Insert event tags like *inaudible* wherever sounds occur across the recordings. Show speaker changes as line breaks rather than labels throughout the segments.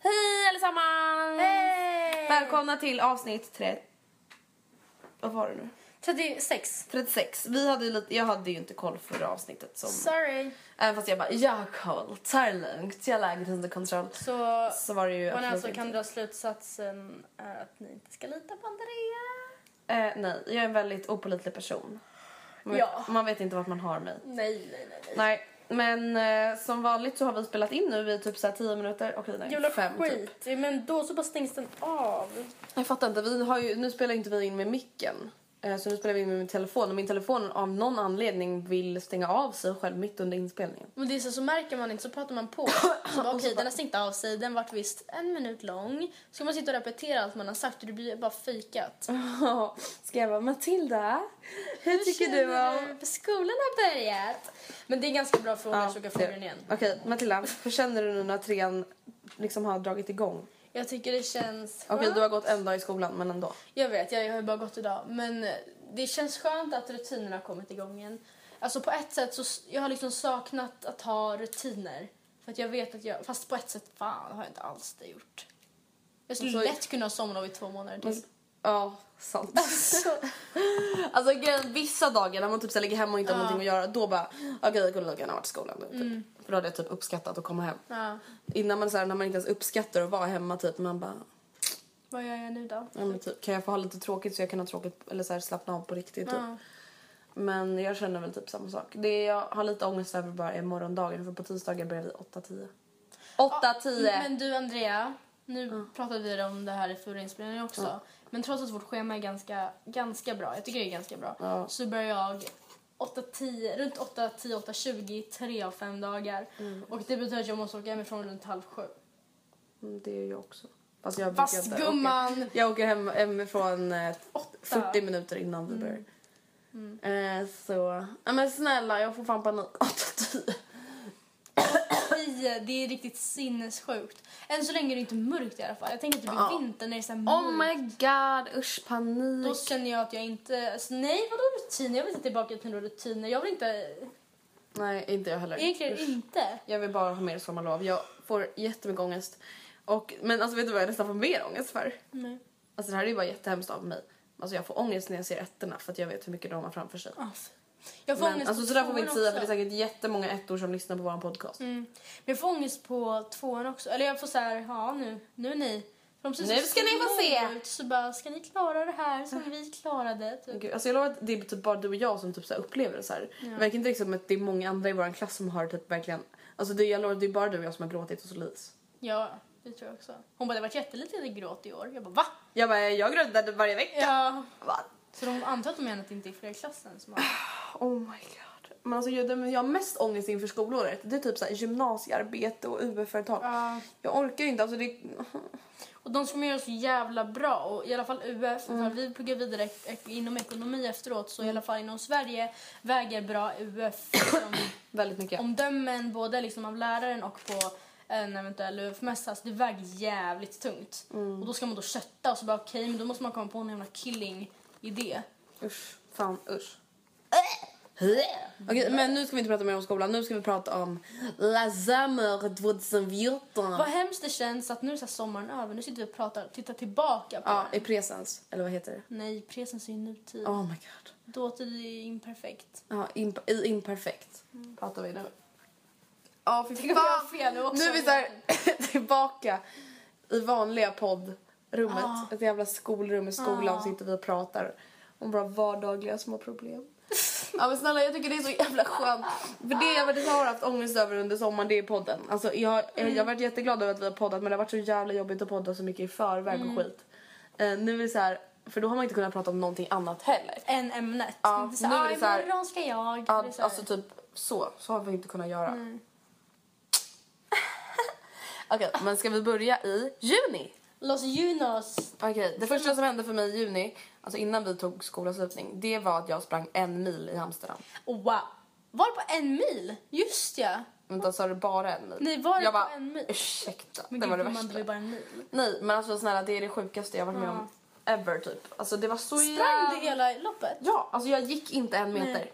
Hej allesammans! Välkomna till avsnitt 30... Vad var det nu?
36.
36. Vi hade ju lite, jag hade ju inte koll förra avsnittet. Som,
Sorry.
även fast jag bara, jag har koll, ta det lugnt, jag har läget under kontroll.
Så
Så var det ju
man
absolut
alltså kan
inte.
dra slutsatsen är att ni inte ska lita på Andrea.
Eh, nej, jag är en väldigt opålitlig person. Man vet,
Ja.
man vet inte vart man har mig.
Nej, nej, nej. nej.
Nej, men eh, som vanligt så har vi spelat in nu i typ så här 10 minuter. Okej, nej,
Jävla
fem typ.
skit. Men då så bara stängs den av.
Jag fattar inte. Vi har ju, nu spelar inte vi in med micken. Eh, Så nu spelar vi in med min telefon. Och min telefon av någon anledning vill stänga av sig själv mitt under inspelningen.
Men det är så, så märker man inte, så pratar man *coughs* på. Så bara, Okej, den har stängt av sig, den vart visst en minut lång. Så ska man sitta och repetera allt man har sagt och det blir bara fejkat.
Ska jag vara Matilda? Hur tycker du om...
För skolan har börjat. Men det är ganska bra frågor, så jag kan
det-
fråga den igen.
Okej, Matilda. Hur känner du nu när trean liksom har dragit igång?
Jag tycker det känns...
Okej, du har gått en dag i skolan, men ändå.
Jag vet, jag har ju bara gått idag. Men eh, det känns skönt att rutinerna har kommit igång igen. Alltså på ett sätt så s- jag har liksom saknat att ha rutiner. För att jag vet att jag, fast på ett sätt fan har jag inte alls det gjort. Jag skulle
Alltså-
lätt kunna ha somnat i två månader till.
Ja, sant.
*laughs*
alltså grejen, vissa dagar när man typ så här ligger hemma och inte har någonting att göra, då bara okej, jag kunde lika gärna varit i skolan nu. Typ. För då hade jag typ uppskattat att komma hem.
Mm. Ja.
Innan man så här, när man inte ens uppskattar att vara hemma typ man bara
Vad gör jag nu då?
ja, men typ, kan jag få ha lite tråkigt så jag kan ha tråkigt eller så här, slappna av på riktigt typ.
Ja.
Men jag känner väl typ samma sak. Det jag har lite ångest över bara är morgondagen för på tisdagar börjar vi 8-10. 8-10!
Mm, Men du Andrea, nu pratade vi om det här i förra inspelningen också. Men trots att vårt schema är ganska, ganska bra, jag tycker det är ganska bra, så börjar jag 8-10, runt 8-10, 8-20, tre av fem dagar. Och det betyder att jag måste åka hemifrån runt halv sju.
Mm, Det är jag också. Fast jag
Fast
brukar inte åka.
gumman!
Jag åker hem, hemifrån eh,
Åtta. Mm.
40 minuter innan vi börjar. Eh, så... Ja, men snälla, jag får fan panik. *laughs* 8-10.
I, det är riktigt sinnessjukt. Än så länge är det inte mörkt i alla fall. Jag tänker att det blir
Ja.
vinter när det är så här
Oh
mörkt.
my god, usch panik.
Då känner jag att jag inte... Alltså, nej, vadå rutiner? Jag vill inte tillbaka till några rutiner. Jag vill inte...
Nej, inte jag heller.
Egentligen
Usch.
inte.
Jag vill bara ha mer sommarlov. Jag får jättemycket ångest. Och, men alltså vet du vad jag nästan får mer ångest för?
Nej.
Alltså det här är ju bara jättehemskt av mig. Alltså jag får ångest när jag ser ettorna för att jag vet hur mycket de har framför sig.
Alltså, Jag får
Men,
Ah, ångest
alltså
på
så där får vi inte
tvåan
säga för det är
också.
säkert jättemånga ettor som lyssnar på vår podcast.
Mm. Men jag får ångest på tvåan också. Eller jag får så här, ja nu, nu ni. För de ser så
Nu ska ni få
små
se.
Ut, så bara, ska ni klara det här som vi klarade? Typ.
Gud, alltså jag lovar att det är typ bara du och jag som typ så här upplever det så här. Det verkar inte liksom att det är många andra i vår klass som har typ verkligen Alltså det, jag lovar, det är bara du och jag som har gråtit hos Louise.
Ja, det tror jag också. Hon bara, det har varit jättelite gråt i år. Jag bara, va?
Jag bara, jag grötade varje vecka.
Ja.
Va?
Så de antar att de menar att det inte är fler i klassen som har...
Oh my god. Men alltså, jag, det- men jag har mest ångest inför skolåret. Det är typ så här gymnasiearbete och UF-företag.
Ja.
Jag orkar inte. Alltså det...
Och de ska man göra så jävla bra. Och I alla fall UF,
Mm.
ifall vi pluggar vidare ek- inom ekonomi efteråt så i alla fall inom Sverige väger bra UF liksom,
Väldigt mycket.
omdömen både liksom av läraren och på en eventuell UF-mässa. Så alltså det väger jävligt tungt.
Mm.
Och då ska man då kötta och så bara okej, men då måste man komma på en jävla killing-idé.
Usch. Fan, usch. Okej, men nu ska vi inte prata mer om skolan. Nu ska vi prata om La Summer 2014.
Vad hemskt det känns att nu är så här sommaren över. Nu sitter vi och pratar tittar tillbaka på
Ja,
den.
i presens. Eller vad heter det?
Nej, presens är ju nutid.
Oh my god.
Dåtid är ju imperfekt.
Ja, imp- i imperfekt
Mm.
pratar vi nu. Ja, fy
Tänk om jag har
fan.
fel nu också.
Nu är vi så här *laughs* tillbaka i vanliga poddrummet. Ett jävla skolrum i skolan
Ah.
sitter vi och pratar om våra vardagliga
*laughs*
små problem. ja men snälla jag tycker det är så jävla skönt. För det jag faktiskt har haft ångest över under sommaren det är podden. Alltså jag, jag har varit jätteglad över att vi har poddat men det har varit så jävla jobbigt att podda så mycket i förväg
Mm.
och skit. Eh, nu är det så här, för då har man inte kunnat prata om någonting annat heller.
En ämnet.
Ja,
inte så, nu
nu är det så här-
imorgon ska jag.
Ja,
Det är så här- Mm.
alltså typ så. Så har vi inte kunnat göra. *laughs* Okej, men ska vi börja i juni?
Los Junos.
Okej, det första som hände för mig i juni, alltså innan vi tog skolavslutning, det var att jag sprang en mil i Amsterdam.
Oh, wow. Var det på en mil? Just ja.
Vänta, sa du bara en mil?
Nej, var det
jag
på
bara,
en mil?
ursäkta,
Men
det
gud,
var det
gumman,
värsta.
var ju bara en mil.
Nej, men alltså snälla, det är det sjukaste jag varit med om ever typ. Alltså det var så
Sprang
jävla...
du hela loppet?
Ja, alltså jag gick inte en meter.
Nej.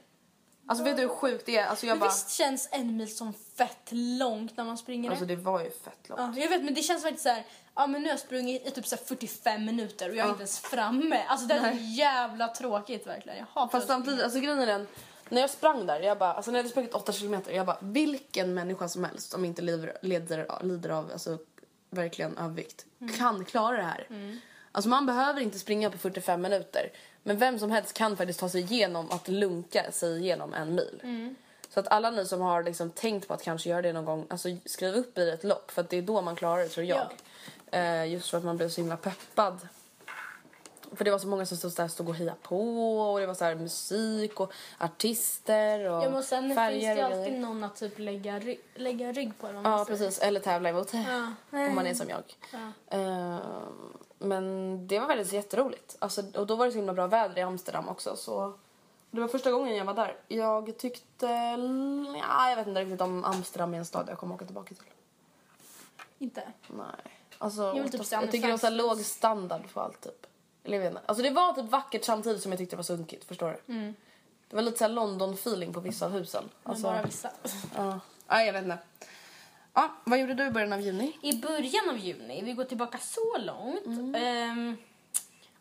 Alltså vet du hur sjukt det är? Alltså jag
Men
bara...
visst känns en mil som fett långt när man springer
Alltså
det?
det var ju fett långt.
Ja, jag vet, men det känns faktiskt så här... Ja, men nu har jag sprungit i typ så här 45 minuter och jag är inte ens framme. Alltså det är så jävla tråkigt verkligen. Jag hatar
Fast
att springa.
samtidigt, alltså grejen är den, när jag sprang där, jag bara, alltså när jag hade sprungit 8 kilometer, jag bara, vilken människa som helst som inte lider, lider, lider av alltså, verkligen övervikt kan klara det här. Alltså man behöver inte springa på 45 minuter, men vem som helst kan faktiskt ta sig igenom att lunka sig igenom en mil. Så att alla ni som har liksom tänkt på att kanske göra det någon gång, alltså skriv upp i ett lopp för att det är då man klarar det tror jag. Eh, just för att man blir så himla peppad. För det var så många som stod, så här, stod och hejade på och det var så här musik och artister och
Ja, men sen finns det
färger
ju
och
alltid
grejer.
någon att typ lägga, ry- lägga rygg på. alltså, Eller vad man
Ja,
säger.
precis. Eller tävla emot.
Nej.
Om man är som jag. Ehm, men det var väldigt jätteroligt. Alltså, och då var det så himla bra väder i Amsterdam också. Så det var första gången jag var där. Jag tyckte... Ja, jag vet inte riktigt om Amsterdam är en stad jag kommer åka tillbaka till.
Inte?
Nej. Alltså,
vill
jag,
typ
typ
säga
jag tycker det var så här
Amsterdam.
låg standard på allt typ. Eller jag vet inte. Alltså det var typ vackert samtidigt som jag tyckte det var sunkigt, förstår du? Det var lite så här London-feeling på vissa av husen.
Mm. Men
Alltså,
bara vissa.
ja. ja, jag vet inte. Ja, vad gjorde du i början av juni?
I början av juni, vi går tillbaka så långt.
Mm.
ehm,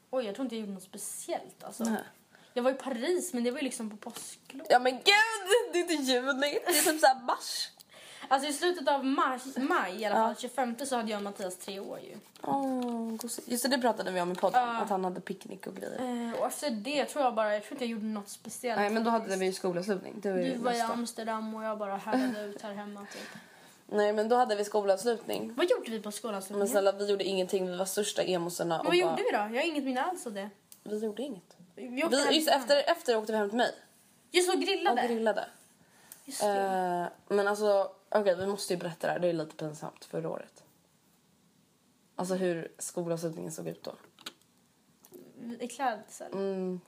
oj, jag tror inte jag gjorde något speciellt. Alltså. Jag var i Paris, men det var ju liksom på påsklov.
Ja men gud, det är inte juni, det är typ såhär mars.
Alltså i slutet av mars, maj, i alla fall 25 så hade jag och Mattias tre år ju.
Oh, Just det, det pratade vi om i podden, att han hade picknick och grejer.
Eh, och efter det tror jag bara, jag tror inte jag gjorde något speciellt.
Nej men då hade vi ju skolavslutning. Det var ju
Du var i
nästa.
Amsterdam och jag bara härjade ut här hemma typ.
Nej men då hade vi skolavslutning.
Vad gjorde vi på
Men
skolavslutningen?
snälla vi gjorde ingenting, vi var största emosarna. och
Vad
bara-
gjorde vi då? Jag har inget minne alls av det.
Vi gjorde inget.
Vi åkte
Vi,
hem
just
till
efter, efter åkte vi hem till mig
Just och
och
grillade.
grillade.
Just det.
Eh, men alltså, okej vi måste ju berätta det här. Det är lite pinsamt förra året. Alltså hur skolavslutningen såg ut då.
I klädsel.
Mm.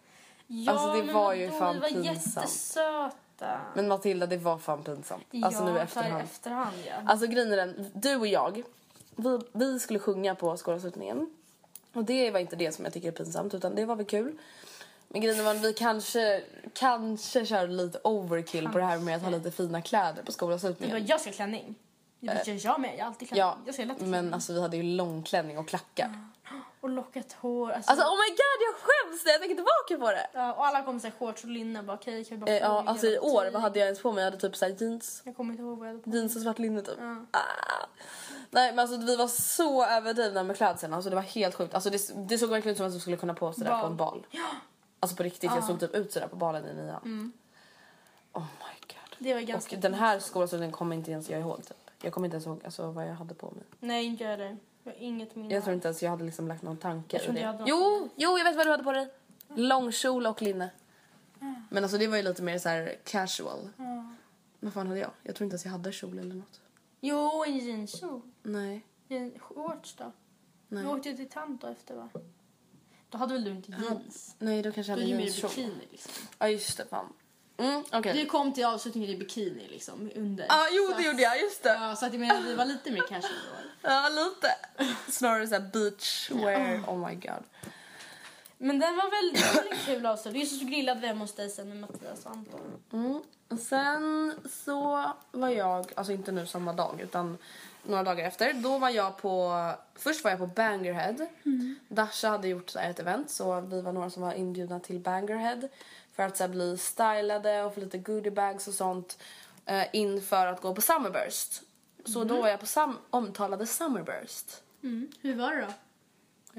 Ja,
Alltså, det
men
var ju
vadå,
fan
Vi var
pinsamt.
jättesöta.
Men Matilda, det var fan pinsamt. Alltså
ja,
nu i
så här
efterhand.
i efterhand ja.
Alltså grejen är den, du och jag, vi, vi skulle sjunga på skolavslutningen. Och det var inte det som jag tycker är pinsamt, utan det var väl kul. Men grejen var att vi kanske, kanske körde lite overkill på det här med att ha lite fina kläder på
Du bara,
skolavslutningen.
jag ska ha klänning. Jag bara, jag, jag med. Jag har alltid klänning.
Eh, Ja,
jag ska lätt ha klänning.
men alltså vi hade ju långklänning och klackar.
Och lockat hår. Alltså,
Alltså oh my god jag skäms när jag tänker tillbaka på det!
ja, och alla kom så här shorts och linne. Bara, okay, kan vi bara
Eh, ja,
fråga
alltså i
vad
år,
tid?
vad hade jag ens på mig? Jag hade typ såhär jeans,
Jag kommer inte ihåg vad jag hade på mig.
jeans och svart linne typ. Ah. Nej men alltså vi var så överdrivna med klädseln, alltså det var helt sjukt. Alltså det, det såg verkligen ut som att vi skulle kunna på oss det där på en
Mm.
bal. Alltså på riktigt, jag såg typ ut sådär på balen i nian. Oh my god. svårt.
Det var ganska
och den här skolavslutningen kommer inte ens jag ihåg. Typ. Jag kommer inte ens ihåg alltså, vad jag hade på mig.
Nej, inte jag heller. Jag har inget minne.
Jag tror inte ens jag hade liksom lagt någon tanke
Jag tror
i
inte jag hade
det.
någon
Jo, jo, jag vet vad du hade på dig. Långkjol och linne. Men alltså det var ju lite mer så här casual. Vad fan hade jag? Jag tror inte ens jag hade kjol eller något.
Jo, en jeanskjol.
Nej.
Jean- Shorts då?
Nej.
Du åkte ju till tant då efter va? Då hade väl du inte jeans?
Nej, då kanske jag
Du
hade
hade ju mer
jeanskjol.
bikini liksom.
Ja, just det. Fan. Mm, okej.
Du kom till avslutningen i bikini liksom under.
Ja, jo, det gjorde jag. Just det.
Ja, så att jag menar vi var lite mer casual då.
Ja, lite. Snarare såhär beachwear. Oh my god.
Men den var väldigt, väldigt kul avslutning. Just så grillade vi hemma hos dig sen med Mattias och Anton.
Mm. Och Sen så var jag, alltså inte nu samma dag utan några dagar efter. Då var jag på, först var jag på Bangerhead. Dasha hade gjort så här ett event så vi var några som var inbjudna till Bangerhead. För att så här bli stylade och få lite goodiebags och sånt. Eh, inför att gå på Summerburst. Så då var jag på sam- omtalade Summerburst.
Hur var det då?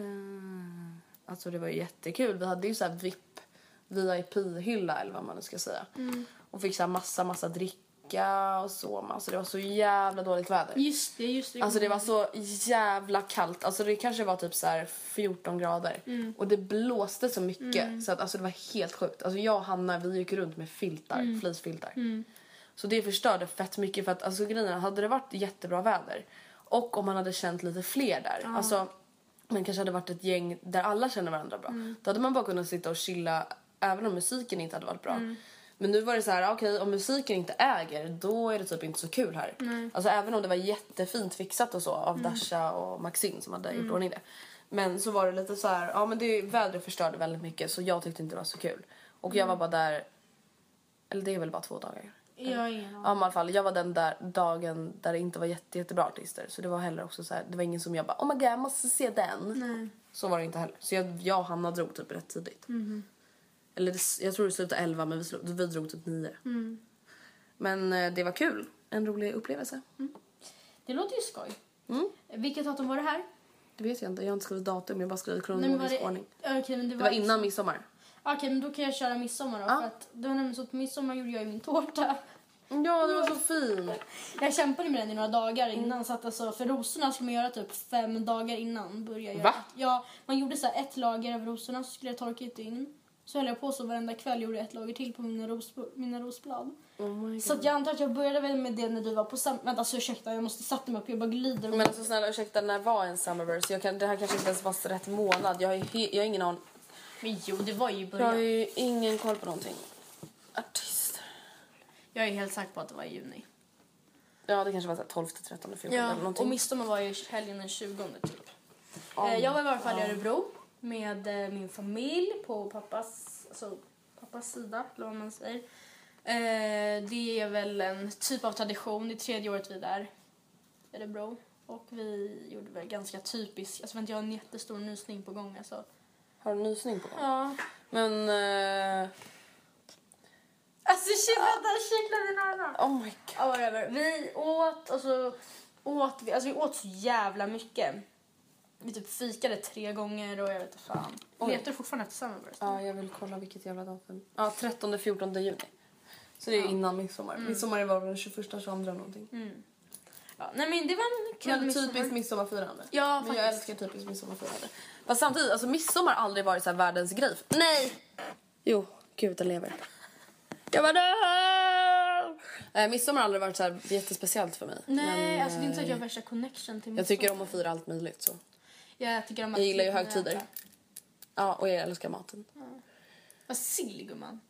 Mm. Eh, Alltså det var ju jättekul. Vi hade ju så här VIP, VIP-hylla eller vad man nu ska säga.
Mm.
Och fick så här massa, massa dricka och så. Men Alltså det var så jävla dåligt väder.
Just det, just det.
Alltså det var så jävla kallt. Alltså det kanske var typ så här 14 grader.
Mm.
Och det blåste så mycket så att alltså det var helt sjukt. Alltså jag och Hanna vi gick runt med filtar,
Mm.
fleecefiltar. Så det förstörde fett mycket för att alltså grejen är, hade det varit jättebra väder och om man hade känt lite fler där. Alltså man kanske hade varit ett gäng där alla känner varandra bra. Då hade man bara kunnat sitta och chilla även om musiken inte hade varit bra. Men nu var det så här, okej om musiken inte äger då är det typ inte så kul här. Alltså även om det var jättefint fixat och så av Dasha och Maxine som hade gjort ordning det. Men så var det lite så här, ja men det vädret förstörde väldigt mycket så jag tyckte inte det var så kul. Och jag var bara där, eller det är väl bara två dagar.
Jag har ingen aning.
Ja, men i alla fall, jag var den där dagen där det inte var jätte, jättebra artister. Så det var heller också så här, det var ingen som jag bara oh my god, jag måste se den. Så var det inte heller. Så jag, jag och Hanna drog typ rätt tidigt. Eller det, jag tror det slutade 11 men vi, slu- vi drog typ 9. Men eh, det var kul. En rolig upplevelse.
Det låter ju skoj. Vilket datum var det här?
Mm. Det vet jag inte, jag har inte skrivit datum, jag har bara skrivit
Nej, men var
kronologisk
det...
ordning.
Okej, men det
Det
var,
var innan midsommar.
Okej, men då kan jag köra midsommar då.
Ja.
För att det var nämligen så att på midsommar gjorde jag ju min tårta.
Ja, det var så fint.
Jag kämpade med den i några dagar
Mm.
innan. Så att alltså, för rosorna skulle man göra typ fem dagar innan. Började jag.
Va?
Ja, man gjorde så här ett lager av rosorna så skulle jag torka ut in. Så höll jag på så varenda kväll gjorde jag ett lager till på mina, ros, mina rosblad.
Oh
så att jag antar att jag började väl med det när du var på sam... Vänta, alltså ursäkta, jag måste sätta mig upp. Jag bara glider.
Men alltså snälla ursäkta, när var en summerburst? Jag kan, det här kanske inte ens var rätt månad. Jag har, ju he- jag har ingen aning.
Men jo, det var ju i
Jag har ju ingen koll på någonting. Artister.
Jag är helt säker på att det var i juni.
Ja, det kanske var så här 12, 13, 14 eller
Ja,
någonting.
och midsommar var ju helgen den 20 typ. Eh, jag var i varje fall i Örebro med eh, min familj på pappas, alltså, pappas sida, eller vad man säger. Eh, det är väl en typ av tradition, det är tredje året vi är där i Örebro. Och vi gjorde väl ganska typiskt, alltså vänta jag har en jättestor nysning på gång alltså.
Har du nysning på gång?
Ja.
Men... eh,
Alltså shit vänta, kittlade i öronen.
oh my god.
Ja, whatever. Vi åt och så åt vi, alltså vi åt så jävla mycket. Vi typ fikade tre gånger och jag vet inte fan. Letar du fortfarande efter Summerburst?
Ja, jag vill kolla vilket jävla datum. Ja, 13, 14 juni. Så det är ju innan midsommar.
Mm.
Midsommar var väl den 21, 22 någonting.
Ja, nej men det var en kul
Men
midsommar.
typiskt midsommarfirande.
Ja,
Men jag
faktiskt.
älskar typiskt midsommarfirande. Fast samtidigt, alltså midsommar har aldrig varit så här världens grej. Nej! Jo, gud jag lever. Jag var död! Eh, midsommar har aldrig varit så här jättespeciellt för mig.
Nej,
Men,
alltså det är inte så att
eh,
jag har värsta connection till
Jag tycker
midsommar.
om att fira allt möjligt så.
Jag tycker om att
Jag gillar ju
kunna
högtider.
äta.
Ja, och jag älskar maten.
Vad sill gumman.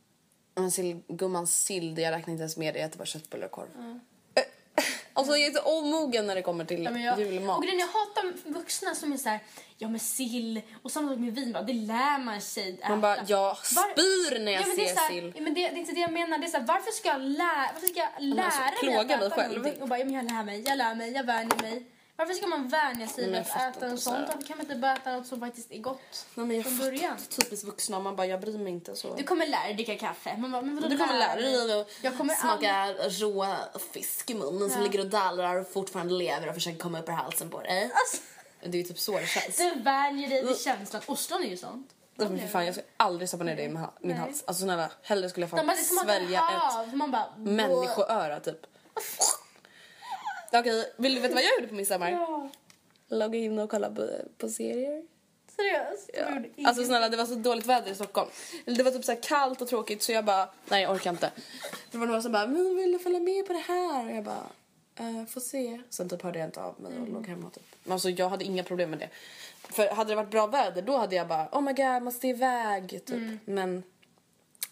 Men sill, gumman sill, det jag räknar inte ens med det. Jag äter bara köttbullar och korv. Eh, *laughs* Alltså jag är så omogen när det kommer till
Ja, men jag,
julmat.
Och grejen, jag hatar vuxna som är så här, ja men sill och samma sak med vin bara, det lär man sig äta.
Man bara, jag
Var-
spyr när jag
men det är
ser
så här,
sill.
ja, Men det, det är inte det jag menar. Det är så här, varför ska jag lära, varför ska jag lära
alltså,
mig att
plåga mig
äta
själv.
någonting? Och bara, ja, men jag lär mig, jag lär mig, jag vänjer mig. Varför ska man vänja sig
Men
vid
jag
att
fattar
äta
inte
något
så här.
sånt? Varför kan man inte bara äta något som faktiskt är gott
Nej, men jag
från
fattar
början?
inte. Typiskt vuxna, man bara jag bryr mig inte så.
Du kommer lära dig dricka kaffe. Man bara, men vadå
Du kommer lära dig
Jag kommer
att smaka råa fisk i munnen som ligger och dallrar och fortfarande lever och försöker komma upp ur halsen på dig.
Alltså,
Det är ju typ så det känns.
du vänjer dig vid känslan. Ostron är ju sånt.
Nej, men för fan, jag ska aldrig stoppa ner det i min ha- min hals. Alltså snälla, hellre skulle jag
Nej,
fan
men det är som att
svälja
man har-
ett
Man bara...
människoöra typ. Okej, vill du veta vad jag gjorde på midsommar?
Ja,
Logga in och kolla på, på serier.
seriöst.
Ja.
Jag gjorde ingenting.
Alltså snälla det var så dåligt väder i Stockholm. Det var typ så här kallt och tråkigt så jag bara nej jag orkar inte. Det var några som bara men vill du följa med på det här? Och jag bara eh, får se. Sen typ hörde jag inte av mig
Mm.
och låg hemma typ. Men alltså jag hade inga problem med det. För hade det varit bra väder då hade jag bara oh my god måste iväg typ. Men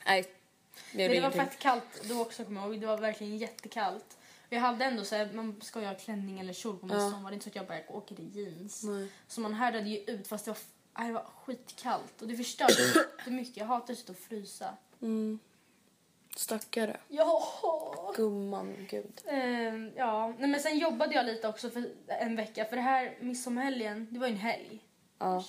nej. Jag
Mm. Men
gjorde
det var
ingenting.
fett kallt då också kommer jag ihåg. Det var verkligen jättekallt. Och jag hade ändå så här, man ska ju ha klänning eller kjol på midsommar. Det är inte så att jag bara åker i jeans. Så man härdade ju ut fast det var, f- aj, det var skitkallt. Och det förstörde jättemycket. Jag hatar just att frysa.
Stackare.
Ja.
Gumman gud.
Ehm, ja, Nej, men sen jobbade jag lite också för en vecka. För det här midsommarhelgen, det var ju en helg.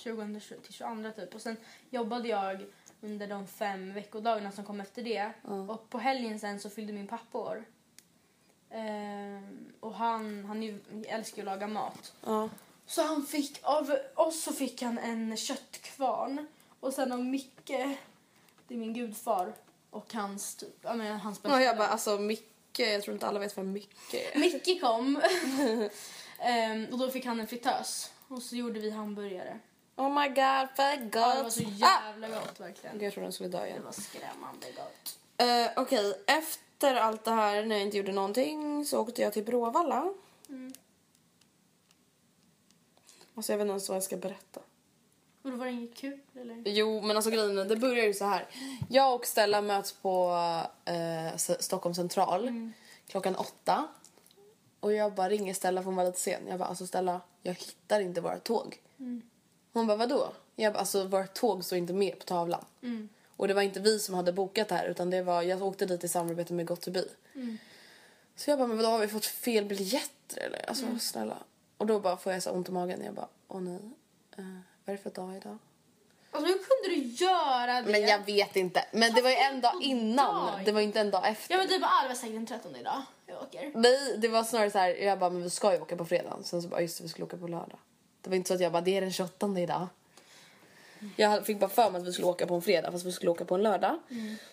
20 till 22 typ. Och sen jobbade jag under de fem veckodagarna som kom efter det. Och på helgen sen så fyllde min pappa år. Ehm, och han, han är ju, älskar ju att laga mat.
Ja.
Så han fick, av oss så fick han en köttkvarn. Och sen av Micke, det är min gudfar, och hans typ, ja men hans bästa
Och jag bara alltså Micke jag tror inte alla vet vad Micke är.
Micke
*laughs*
kom. Ehm, och då fick han en fritös. Och så gjorde vi hamburgare.
Oh my god vad gott.
Ja, det var så
Ah!
jävla gott verkligen.
Jag tror den skulle dö igen.
Det var skrämmande gott.
Eh, Okej, efter allt det här när jag inte gjorde någonting så åkte jag till Bråvalla.
Mm.
Alltså jag vet inte ens vad jag ska berätta.
Och då var det inget kul eller?
Jo, men alltså grejen är, det börjar ju så här. Jag och Stella möts på eh, S- Stockholm central klockan åtta. Och jag bara ringer Stella för hon var lite sen. Jag bara, alltså Stella, jag hittar inte våra tåg. Hon bara, vadå? Jag bara, alltså vårt tåg står inte med på tavlan. Och det var inte vi som hade bokat det här utan det var, jag åkte dit i samarbete med Gott Bi. Så jag bara, men då har vi fått fel biljetter eller? Alltså snälla. Och då bara får jag så ont i magen. Jag bara, åh nej. Eh, vad är det för dag idag?
Alltså hur kunde du göra det?
Men jag vet inte. Men det var ju en dag innan.
dag.
Det var ju inte en dag efter.
Ja men du bara, ah, det var säkert den 13 idag. Jag åker.
Nej, det var snarare så här. Jag bara, men vi ska ju åka på fredag. Sen så bara, just det, vi skulle åka på lördag. Det var inte så att jag bara, det är den 28 idag. Jag fick bara för mig att vi skulle åka på en fredag fast vi skulle åka på en lördag.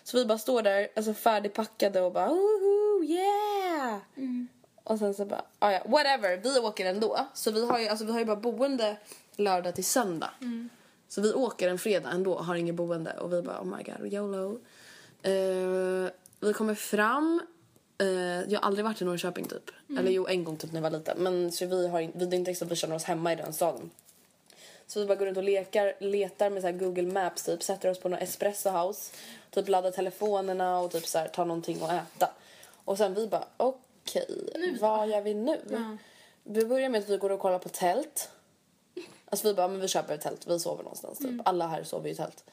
Så vi bara står där, alltså färdigpackade och bara, woho, yeah! Och sen så bara, ah, ja, whatever, vi åker ändå. Så vi har ju, alltså, vi har ju bara boende lördag till söndag. Så vi åker en fredag ändå har ingen boende. Och vi bara, oh my god, YOLO. Eh, vi kommer fram. eh, jag har aldrig varit i Norrköping typ. Eller jo, en gång typ när jag var liten. Men så vi har, in- vi, det är inte så att vi känner oss hemma i den staden. Så vi bara går runt och lekar, letar med så här Google Maps typ, sätter oss på någon espresso house, typ laddar telefonerna och typ så här, tar någonting att äta. Och sen vi bara okej, vad gör vi nu? Vi börjar med att vi går och kollar på tält. Alltså vi bara, men vi köper ett tält, vi sover någonstans
Mm.
typ. Alla här sover ju i tält.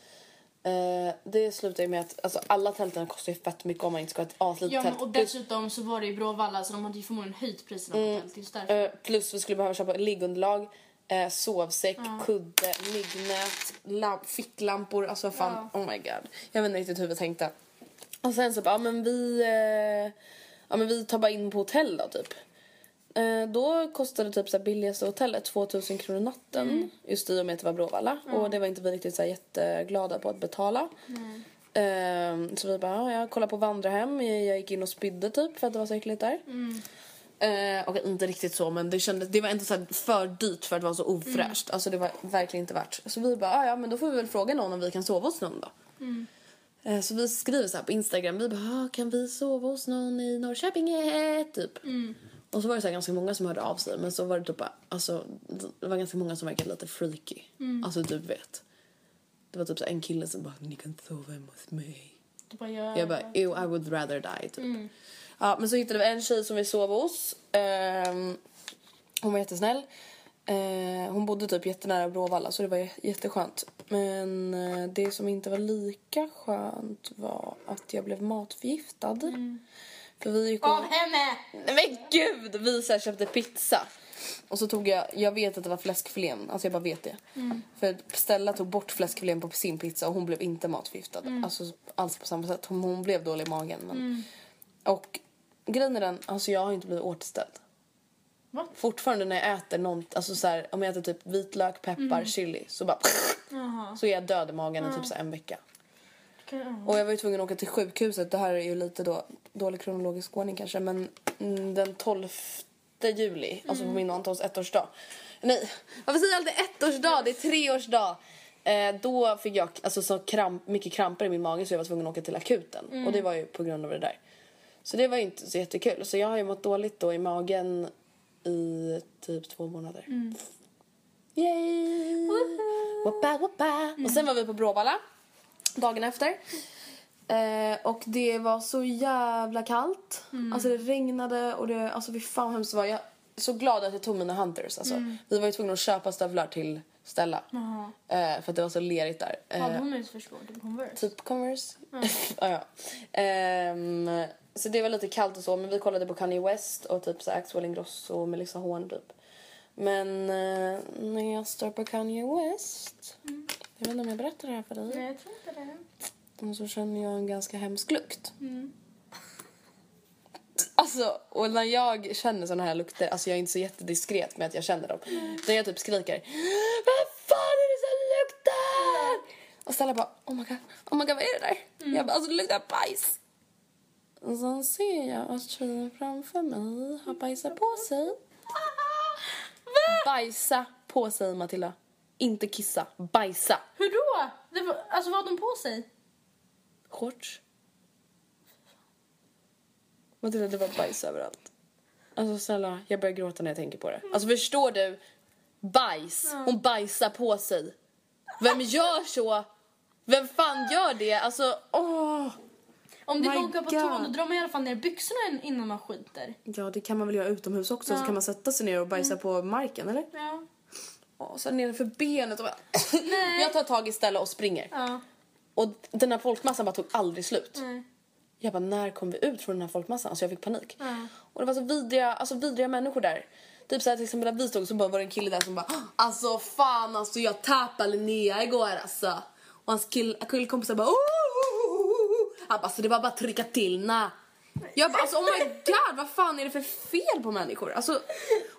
Eh, det slutar ju med att alltså, alla tälten kostar ju fett mycket om man inte ska ha ett aslitet
Ja men
tält.
och dessutom så var det i Bråvalla så de hade ju förmodligen höjt priserna på tält just därför.
Eh, plus vi skulle behöva köpa liggunderlag, eh, sovsäck, kudde, myggnät, lamp, ficklampor. Alltså vad fan, oh my god. Jag vet inte riktigt hur vi tänkte. Och sen så bara, ja men vi, eh, ja, men vi tar bara in på hotell då typ. Eh, då kostade typ så här billigaste hotellet 2000 kronor natten. Just i och med att det var Bråvalla. Och det var inte vi riktigt så här jätteglada på att betala. Eh, så vi bara, ja, jag kollade på vandrarhem. Jag, jag gick in och spydde typ för att det var så äckligt där. Eh, Okej, inte riktigt så, men det, kändes, det var ändå så här för dyrt för att vara så ofräscht. Alltså, det var verkligen inte värt. Så vi bara, "Ah, ja men då får vi väl fråga någon om vi kan sova hos någon då. Eh, Så vi skriver så här på Instagram, vi bara, "Ah, kan vi sova hos någon i Norrköping? *laughs* eh?" Typ. Och så var det så här ganska många som hörde av sig, men så var det typ bara, alltså, det var ganska många som verkade lite freaky.
Mm.
Alltså du vet. Det var typ så här en kille som bara, ni kan sova hemma hos mig.
Du bara, ja. Mm.
Jag bara, ew, I would rather die, typ. Ja, men så hittade vi en tjej som vi sov hos. Ehm, hon var jättesnäll. Eh, hon bodde typ jättenära Bråvalla, så det var j- jätteskönt. Men eh, det som inte var lika skönt var att jag blev matförgiftad.
Mm.
För vi gick och...
Av henne!
Nej men gud! Vi så här köpte pizza. Och så tog jag, jag vet att det var fläskfilén, alltså jag bara vet det. För Stella tog bort fläskfilén på sin pizza och hon blev inte matförgiftad. Alltså alls på samma sätt. Hon, hon blev dålig i magen men. Och grejen är den, alltså jag har inte blivit återställd.
Va?
Fortfarande när jag äter någon, alltså så här, om jag äter typ vitlök, peppar, chili så bara Så är jag död i magen i typ så här en vecka. Och jag var ju tvungen att åka till sjukhuset. Det här är ju lite då, dålig kronologisk ordning kanske. Men mm, den 12 juli, alltså på min och Antons ettårsdag. Nej, varför säger jag alltid ettårsdag? Det är treårsdag. Eh, då fick jag alltså, så kramp, mycket kramper i min mage så jag var tvungen att åka till akuten. Och det var ju på grund av det där. Så det var ju inte så jättekul. Så jag har ju mått dåligt då i magen i typ två månader. Yay! Woppa, woppa. Och sen var vi på Bråvalla dagen efter. Eh, och det var så jävla kallt. Alltså det regnade och det, alltså fy fan vad hemskt det var. Jag är så glad att jag tog mina hunters alltså. Vi var ju tvungna att köpa stövlar till Stella. Eh, för att det var så lerigt där.
Hade
Eh,
hon utförsgård? Converse?
Typ Converse. *laughs* ja, ja. Ehm, så det var lite kallt och så, men vi kollade på Kanye West och typ så här Axel Ingrosso och Melissa Horn typ. Men eh, när jag står på Kanye West, jag vet inte om jag berättar det här för dig,
Nej, jag tror inte det.
och så känner jag en ganska hemsk lukt. Alltså, och när jag känner såna här lukter, alltså jag är inte så jättediskret med att jag känner dem. Utan jag typ skriker Vad fan är det som luktar? Och Stella bara oh my god, oh my god vad är det där? Jag bara alltså det luktar bajs. Och sen ser jag att tjejen framför mig har bajsat på sig. Bajsa på sig Matilda. Inte kissa, bajsa.
Hur då? Det var, alltså vad hade hon på sig?
Shorts. Matilda, det var bajs överallt. Alltså snälla, jag börjar gråta när jag tänker på det. Alltså förstår du? Bajs. Hon bajsar på sig. Vem gör så? Vem fan gör det? Alltså, åh!
Om det
My
kokar på
God.
tån, då drar man i alla fall ner byxorna in- innan man skiter.
Ja, det kan man väl göra utomhus också. Så kan man sätta sig ner och bajsa på marken, eller?
Ja.
Åh, så nedanför benet och bara... jag tar tag i Stella och springer.
Ja.
Och den här folkmassan bara tog aldrig slut.
Nej.
Jag bara, när kom vi ut från den här folkmassan? Alltså jag fick panik. Och det var så vidriga, alltså vidriga människor där. Typ såhär till exempel där vi stod så bara var det en kille där som bara Alltså fan alltså jag tappade Linnea igår alltså. Och hans kill, killkompisar bara "Oh, oh, oh, oh." Han bara så det var bara att trycka till na. Jag bara alltså oh my god vad fan är det för fel på människor? Alltså,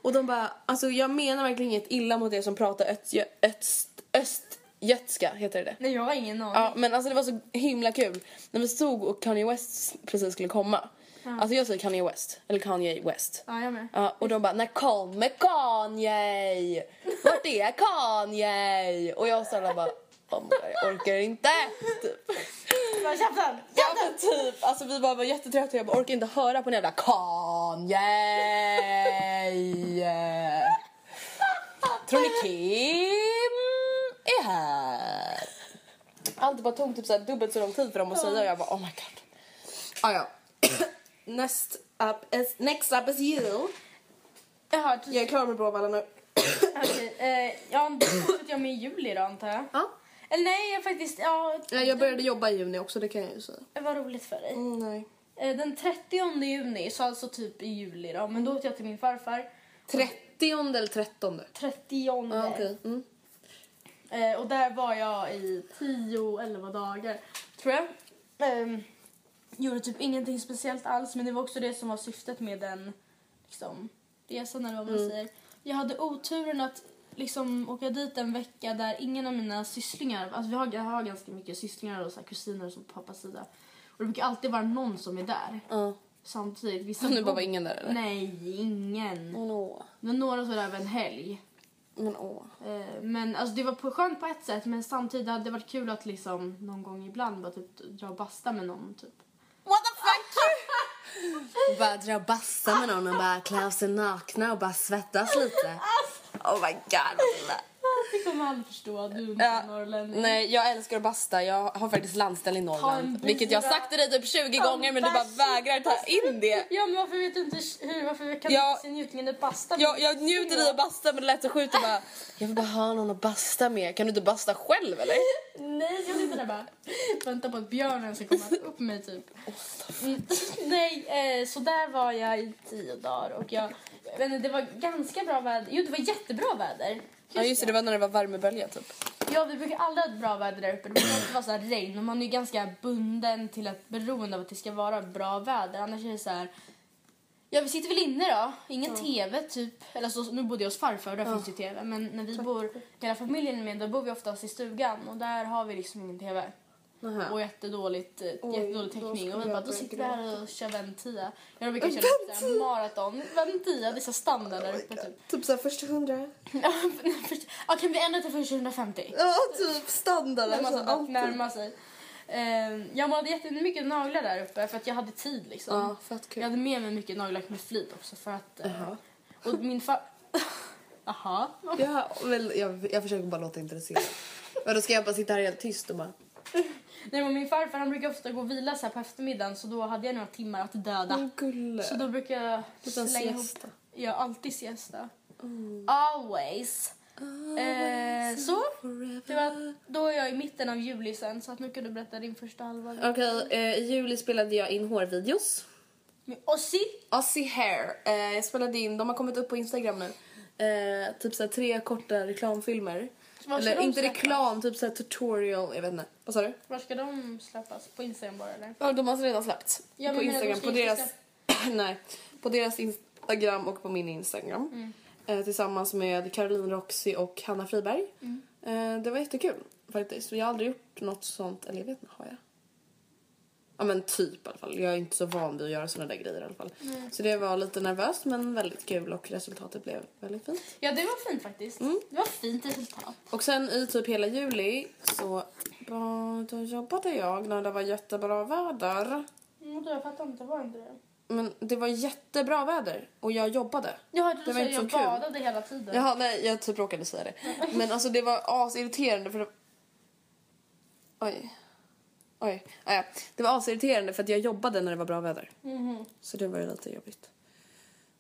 och de bara alltså jag menar verkligen inget illa mot er som pratar öst, öst, östgötska heter det det?
Nej, jag har ingen aning.
Ja, men alltså det var så himla kul. När vi stod och Kanye West precis skulle komma. Alltså jag säger Kanye West, eller Kanye West.
Ja, jag med.
Ja, och de bara, när kommer Kanye? Vart är Kanye? Och jag och Sara bara, oh my God, jag orkar inte. Typ.
Bara käften!
Ja men typ, alltså vi bara var jättetrötta jag bara, orkar inte höra på den jävla Kanye. Tror ni Kim är här? Allt bara tog typ så här dubbelt så lång tid för dem att säga och jag bara oh my god. Ah, ja. *coughs* next, up is, next up is you.
Jaha, du-
Jag är klar med Bråvalla *coughs* nu.
okej. Eh, ja, då fortsätter jag med i juli då, antar jag.
Ja.
Eller nej, jag faktiskt... Ja,
Nej, Jag började jobba i juni också, det kan jag ju säga.
det var roligt för dig.
Mm, nej.
Eh, den 30 juni, så alltså typ i juli då, men då åkte jag till min farfar.
30 eller 13?
30
Ja, okej. Mm.
Eh, och där var jag i 10-11 dagar, tror jag. Ehm, gjorde typ ingenting speciellt alls, men det var också det som var syftet med den liksom, resan, eller vad
Mm.
man säger. Jag hade oturen att liksom, åka dit en vecka där ingen av mina sysslingar... Alltså vi har, jag har ganska mycket sysslingar och så här, kusiner och så på pappas sida. Och det brukar alltid vara någon som är där.
Ja.
Samtidigt.
*laughs*
Vissa
Nu bara
bor-
var ingen där, eller?
Nej, ingen.
Men åh.
Men några som var där över en helg.
Men åh.
Eh, Men alltså det var på, skönt på ett sätt men samtidigt hade det varit kul att liksom någon gång ibland bara typ dra och basta med någon typ.
What the fuck? *laughs* bara dra och basta med någon och bara klä av sig nakna och bara svettas lite. Oh my god.
Alltså. Det kommer aldrig förstå, du är inte
Ja,
norrlänning.
nej, jag älskar att basta. Jag har faktiskt landställe i
en
Norrland.
bira.
Vilket jag har sagt till dig typ 20
Ta en
gånger men du bara
bärs.
vägrar ta in det.
Ja men varför vet du inte hur, varför kan
Ja.
du inte se njutningen i basta?
Jag, jag njuter i att basta men det lät så sjukt att bara jag vill bara ha någon att basta med. Kan du inte basta själv eller?
Nej, jag sitter där bara väntar på att björnen ska komma upp mig typ. Mm, *laughs* Nej, eh, så där var jag i tio dagar och jag, jag vet inte, det var ganska bra väder. Jo, det var jättebra väder.
Ja just det, det var när det var värmebölja typ.
Ja, vi brukar aldrig ha ett bra väder där uppe. Det brukar alltid vara så här regn och man är ju ganska bunden till att beroende av att det ska vara bra väder. Annars är det så här Ja, vi sitter väl inne då. Ingen tv typ. Eller så, nu bodde jag hos farfar och där finns ju tv. Men när vi bor, hela familjen är med, då bor vi oftast i stugan och där har vi liksom ingen tv.
Nähä.
Och jättedåligt, eh, jättedålig täckning.
skulle
Och vi bara,
jag
då sitter vi
börja
här och kör Ventia. Jag brukar köra lite så här maraton. Ventia, det är så standard
Oh
där uppe typ. *laughs*
Typ såhär första hundra.
Ja, först- ja, kan vi ändra till först 150?
Ja, typ standard.
När man
Alltså,
så bara
allt.
närmar sig. Ehm, jag målade jättemycket naglar där uppe för att jag hade tid liksom.
Ja, fett kul.
Jag hade med mig mycket naglar med flit också för att... eh, Och min far... *laughs* Aha.
Ja, väl, jag, jag försöker bara låta intresserad. Men då ska jag bara sitta här helt tyst och bara...
Nej men min farfar han brukar ofta gå och vila så här på eftermiddagen så då hade jag några timmar att döda.
Gulle.
Så då brukar jag
Mm. Liten
slänga ihop...
siesta.
Ja, alltid siesta.
Mm.
Always. Eh, så, det var, då är jag i mitten av juli sen så att nu kan du berätta din första halva.
Okej, eh, i juli spelade jag in hårvideos.
Med Ozzy.
Aussie Hair. Eh, jag spelade in, de har kommit upp på Instagram nu. Eh, typ såhär tre korta reklamfilmer.
Var ska
Eller
de
inte
släppas?
reklam, typ såhär tutorial, jag vet inte. Vad sa du?
Var ska de släppas? På Instagram bara eller?
Ja, de har redan släppts.
Ja, men
på
menar du,
Instagram.
ska
På
inte
deras, *clears throat* nej, på deras Instagram och på min Instagram.
Mm.
Eh, tillsammans med Caroline Roxy och Hanna Friberg.
Mm.
Eh, det var jättekul faktiskt. Jag har aldrig gjort något sånt. Eller jag vet inte, har jag? Ja men typ i alla fall. Jag är inte så van vid att göra såna där grejer i alla fall. Så det var lite nervöst men väldigt kul och resultatet blev väldigt fint.
Ja det var fint faktiskt.
Mm.
Det var fint resultat.
Och sen i typ hela juli så bara, då jobbade jag när det var jättebra väder.
Mm, jag fattar inte, var inte det?
Men det var jättebra väder och jag jobbade.
Jag hörde
det
du
var
säga
inte
jag
så kul.
badade hela tiden.
Jaha, nej, jag typ råkade säga det. Men alltså det var asirriterande för det... Oj. Oj. Ah, ja. Det var asirriterande för att jag jobbade när det var bra väder.
Mhm.
Så det var ju lite jobbigt.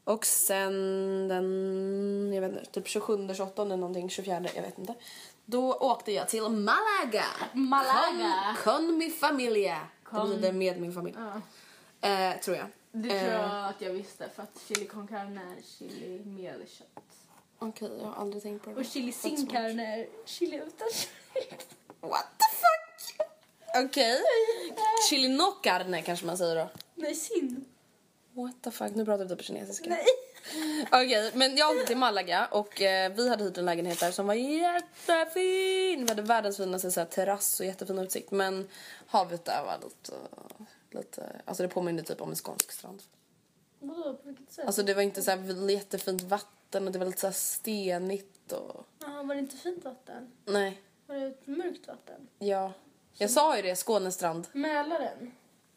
Och sen den, jag vet inte, typ 27, 28 någonting, 24, jag vet inte. Då åkte jag till Malaga.
Malaga.
Con, con mi familia. Det blir det med min familj. Eh, tror jag.
Det tror
Eh,
jag att jag visste för att chili con carne är chili med kött.
Okej, jag har aldrig tänkt på det.
Och chili sin carne är chili *laughs* utan kött.
What the fuck? Okej. Chili no carne kanske man säger då.
Nej, sin.
What the fuck, nu pratar vi typ kinesiska.
Nej.
Okej, men jag åkte till Malaga och eh, vi hade hyrt en lägenhet där som var jättefin. Vi hade världens finaste så här, terrass och jättefin utsikt. Men havet där var lite, lite... Alltså det påminner typ om en skånsk strand.
Vadå, på vilket sätt?
Alltså det var inte så här jättefint vatten och det var lite så här stenigt och...
Jaha, Ah, var det inte fint vatten?
Nej,
Var det ett mörkt vatten?
ja. Jag sa ju det, Skånestrand.
Mälaren?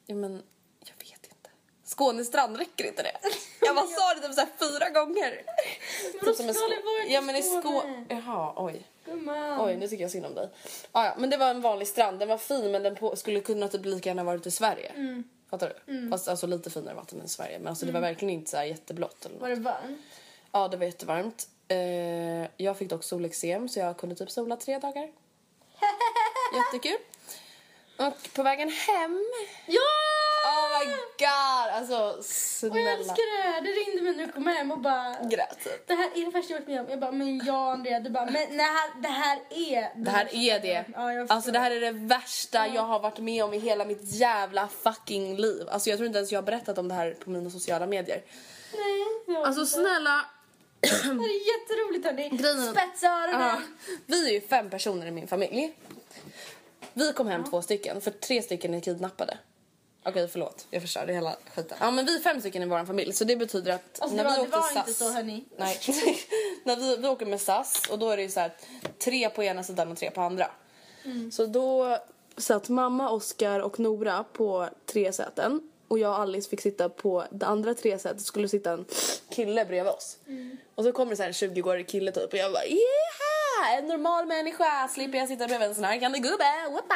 Ja, men jag vet inte. Skånestrand, räcker inte det? Jag bara sa det typ så här fyra gånger. Typ
Vadå, Skåneborg
sko-
till
Ja, men i Skåne.
Skåne.
Jaha, oj.
Gumman.
Oj, nu tycker jag synd om dig. Ah, ja, men det var en vanlig strand. Den var fin, men den på, skulle kunna typ lika gärna varit i Sverige.
Mm.
Fattar du? Fast alltså lite finare vatten än Sverige. Men alltså det var verkligen inte så här jätteblått. Eller något.
Var det varmt? *laughs*
Ja, det var jättevarmt. Eh, jag fick dock solexem så jag kunde typ sola tre dagar.
Ah!
Jättekul. Och på vägen hem...
Ja!
Oh my god! Alltså
Och jag
snälla.
älskar det här. Det ringde mig när du kom hem och bara...
Grät typ.
Det här är det värsta jag varit med om. Jag bara, men ja Andrea, du bara, men det här, det här är...
Det här är det.
Mm. Ja, jag
Alltså det här är det värsta jag har varit med om i hela mitt jävla fucking liv. Alltså jag tror inte ens jag har berättat om det här på mina sociala medier.
Nej, det var
Alltså
inte.
snälla.
Det här är jätteroligt hörni.
Grejen-
Spetsa öronen.
Ja. Vi är ju fem personer i min familj. Vi kom hem två stycken, för tre stycken är kidnappade. Okej förlåt, jag förstörde hela skiten. Ja men vi är fem stycken i vår familj så det betyder att
Alltså, det
när
var-
vi
det
åkte
var inte
SAS,
så, hörni.
Nej. *laughs* när vi, vi åker med SAS och då är det ju så här tre på ena sidan och tre på andra. Så då satt mamma, Oskar och Nora på tre säten och jag och Alice fick sitta på det andra tre sätet. skulle sitta en kille bredvid oss. Och så kommer det så här en 20-årig kille typ och jag bara yeah! En normal människa slipper jag sitta bredvid en snarkande gubbe. Whoppa!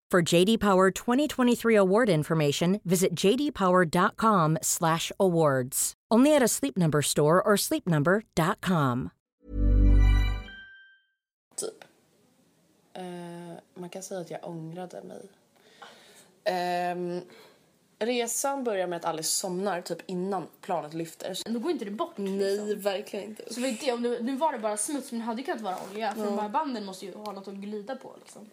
For JD Power 2023 award information, visit jdpower.com/awards. Only at a Sleep Number store or sleepnumber.com.
Typ. Eh, man kan säga att jag ångrade mig. Ehm, resan börjar med att Alice somnar typ innan planet lyfter.
Då går inte det bort. liksom.
Nej, verkligen inte.
Så vet jag, om det, nu var det bara smuts, men det hade kunnat vara olja. För de här banden måste ju ha något att glida på. Liksom.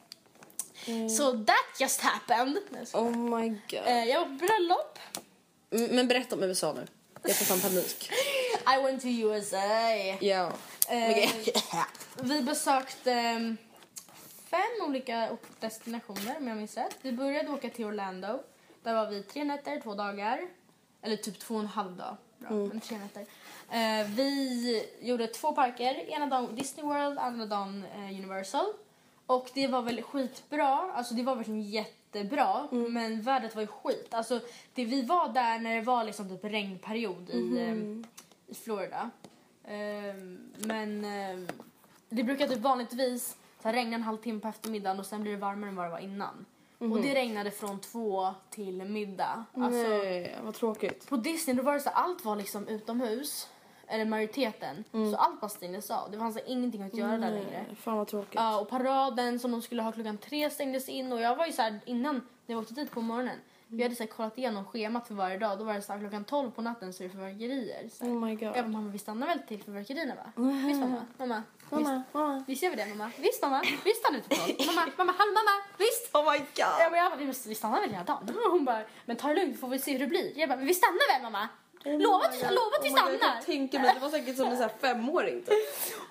So that just happened. Nej, jag skojar.
Oh my god.
Eh, jag var på bröllop.
Mm, Men berätta om USA nu. Jag får fan panik.
I went to USA.
Ja. Eh, Okej.
Vi besökte eh, fem olika destinationer om jag minns rätt. Vi började åka till Orlando. Där var vi tre nätter, två dagar. Eller typ två och en halv dag. Bra, men tre nätter. Eh, vi gjorde två parker. Ena dagen Disney World, andra dagen eh, Universal. Och det var väl skitbra. Alltså det var verkligen jättebra. Men vädret var ju skit. Alltså det, vi var där när det var liksom typ regnperiod i, eh, i Florida. Ehm, men ehm, det brukar typ vanligtvis så här, regna en halvtimme på eftermiddagen och sen blir det varmare än vad det var innan. Och det regnade från två till middag. Alltså,
Nej, Eh, vad tråkigt.
på Disney då var det så här, allt var liksom utomhus. Eller majoriteten.
Mm.
Så allt var stängdes av. Det fanns så här, ingenting att göra där längre.
Fan vad tråkigt.
Ja, och paraden som de skulle ha klockan tre stängdes in och jag var ju så här innan när jag åkte dit på morgonen. Jag hade så här, kollat igenom schemat för varje dag. Då var det så här, klockan 12 på natten så är det fyrverkerier. Så här.
Oh my god.
Jag bara, mamma vi stannar väl till fyrverkerierna va? Visst mamma? Mamma?
Mamma,
visst,
mamma.
visst gör vi det mamma? Visst mamma? Visst stannar vi till 12? Mamma, mamma, hallå mamma? Visst?
Oh my god.
Ja, men jag bara, vi, måste, vi stannar väl hela dagen? Och hon bara, men ta det lugnt får vi se hur det blir. Jag bara, men vi stannar väl mamma?
Oh
Lova att vi, lova att vi
Jag
stannar.
tänker mig, det var säkert som en sån här femåring typ.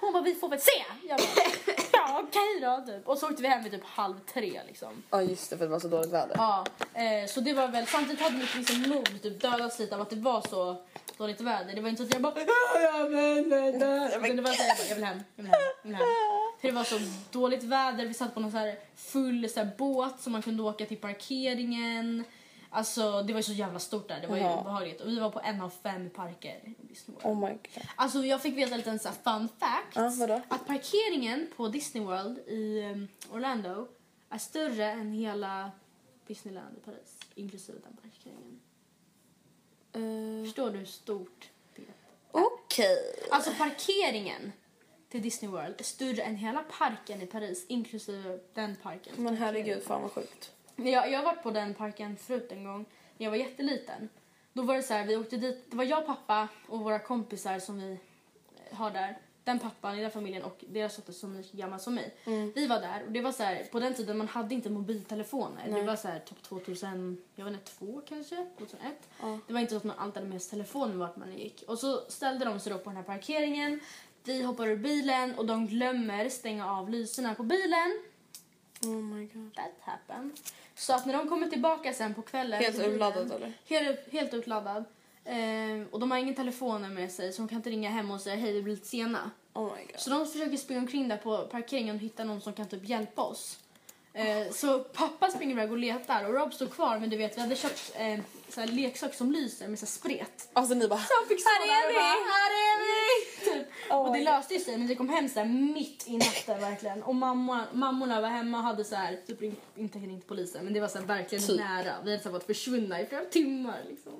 Hon bara, vi får väl se. Jag bara, ja okej då typ. Och så åkte vi hem vid typ halv tre liksom.
Ja just det för det var så dåligt väder.
Ja, eh, så det var väl, samtidigt hade mitt liksom mod typ dödats lite av att det var så dåligt väder. Det var inte så att jag bara "Ah, jag vill inte." Utan det var så här, jag bara, jag vill hem, jag vill hem, jag vill hem. För det var så dåligt väder, vi satt på någon så här full så här båt som man kunde åka till parkeringen. Alltså det var ju så jävla stort där, det var ju
Ja.
obehagligt. Och vi var på en av fem parker i Disney World.
Oh my god.
Alltså jag fick veta en liten så här fun fact.
Ja, vadå?
Att parkeringen på Disney World i um, Orlando är större än hela Disneyland i Paris. Inklusive den parkeringen. Förstår du hur stort det är?
Eh, Okej.
Alltså parkeringen till Disney World är större än hela parken i Paris. Inklusive den parken.
Men herregud fan vad sjukt.
Jag, jag har varit på den parken förut en gång när jag var jätteliten. Då var det så här, vi åkte dit, det var jag, pappa och våra kompisar som vi eh, har där. Den pappan i den familjen och deras dotter som är lika gammal som mig. Vi var där och det var så här, på den tiden man hade inte mobiltelefoner. Det var så här typ 2000, jag vet inte, två kanske? 2001. Det var inte så att man alltid hade med sig telefonen vart man gick. Och så ställde de sig då på den här parkeringen. Vi hoppar ur bilen och de glömmer stänga av lyserna på bilen
Oh my god.
that happened. Så att när de kommer tillbaka sen på kvällen...
Helt
så blir
urladdad,
den-
eller?
Helt, helt utladdad. Ehm, och de har ingen telefoner med sig så de kan inte ringa hem och säga hej, vi blir lite sena.
Oh my god.
Så de försöker springa omkring där på parkeringen och hitta någon som kan typ hjälpa oss. Eh, Så pappa springer iväg och letar och Rob står kvar men du vet vi hade köpt eh, så här leksak som lyser med så här spret.
Alltså ni bara.
De fick stå
Här är
där och
vi!
bara, Här är vi! *laughs* Typ.
Oh
och det
my
löste ju sig men vi kom hem så här mitt i natten verkligen. Och mamma, mammorna var hemma och hade så här, typ ringt, inte ringt polisen men det var så här verkligen
Typ. Oh
nära. Vi hade så här varit försvunna i flera timmar liksom.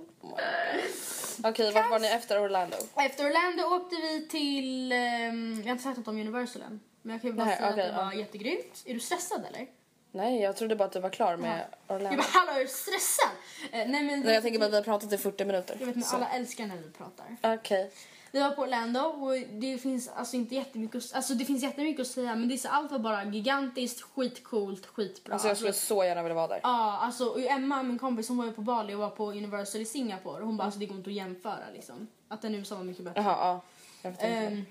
Okej vart var ni efter Orlando?
Och Efter Orlando åkte vi till... ehm, jag har inte sagt något om Universal än. Men jag kan ju bara
Nej,
säga
okej,
att det var
ja.
jättegrymt. Är du stressad eller?
Nej, jag trodde bara att du var klar med
Jag
Orlando.
bara, hallå är du stressad? Eh, nej men det,
Nej, jag tänker bara att vi har pratat i 40 minuter.
jag vet men
Så.
alla älskar när vi pratar.
Okej. Alltså,
Vi var på Orlando och det finns alltså inte jättemycket att, alltså det finns jättemycket att säga men det är så allt var bara gigantiskt, skitcoolt, skitbra.
Alltså jag skulle så gärna vilja vara där.
Ja, alltså och Emma, min kompis, hon var ju på Bali och var på Universal i Singapore. Hon bara, alltså det går inte att jämföra liksom. Att den i USA var mycket bättre.
Jaha, ja. Jag vet inte.
Ehm,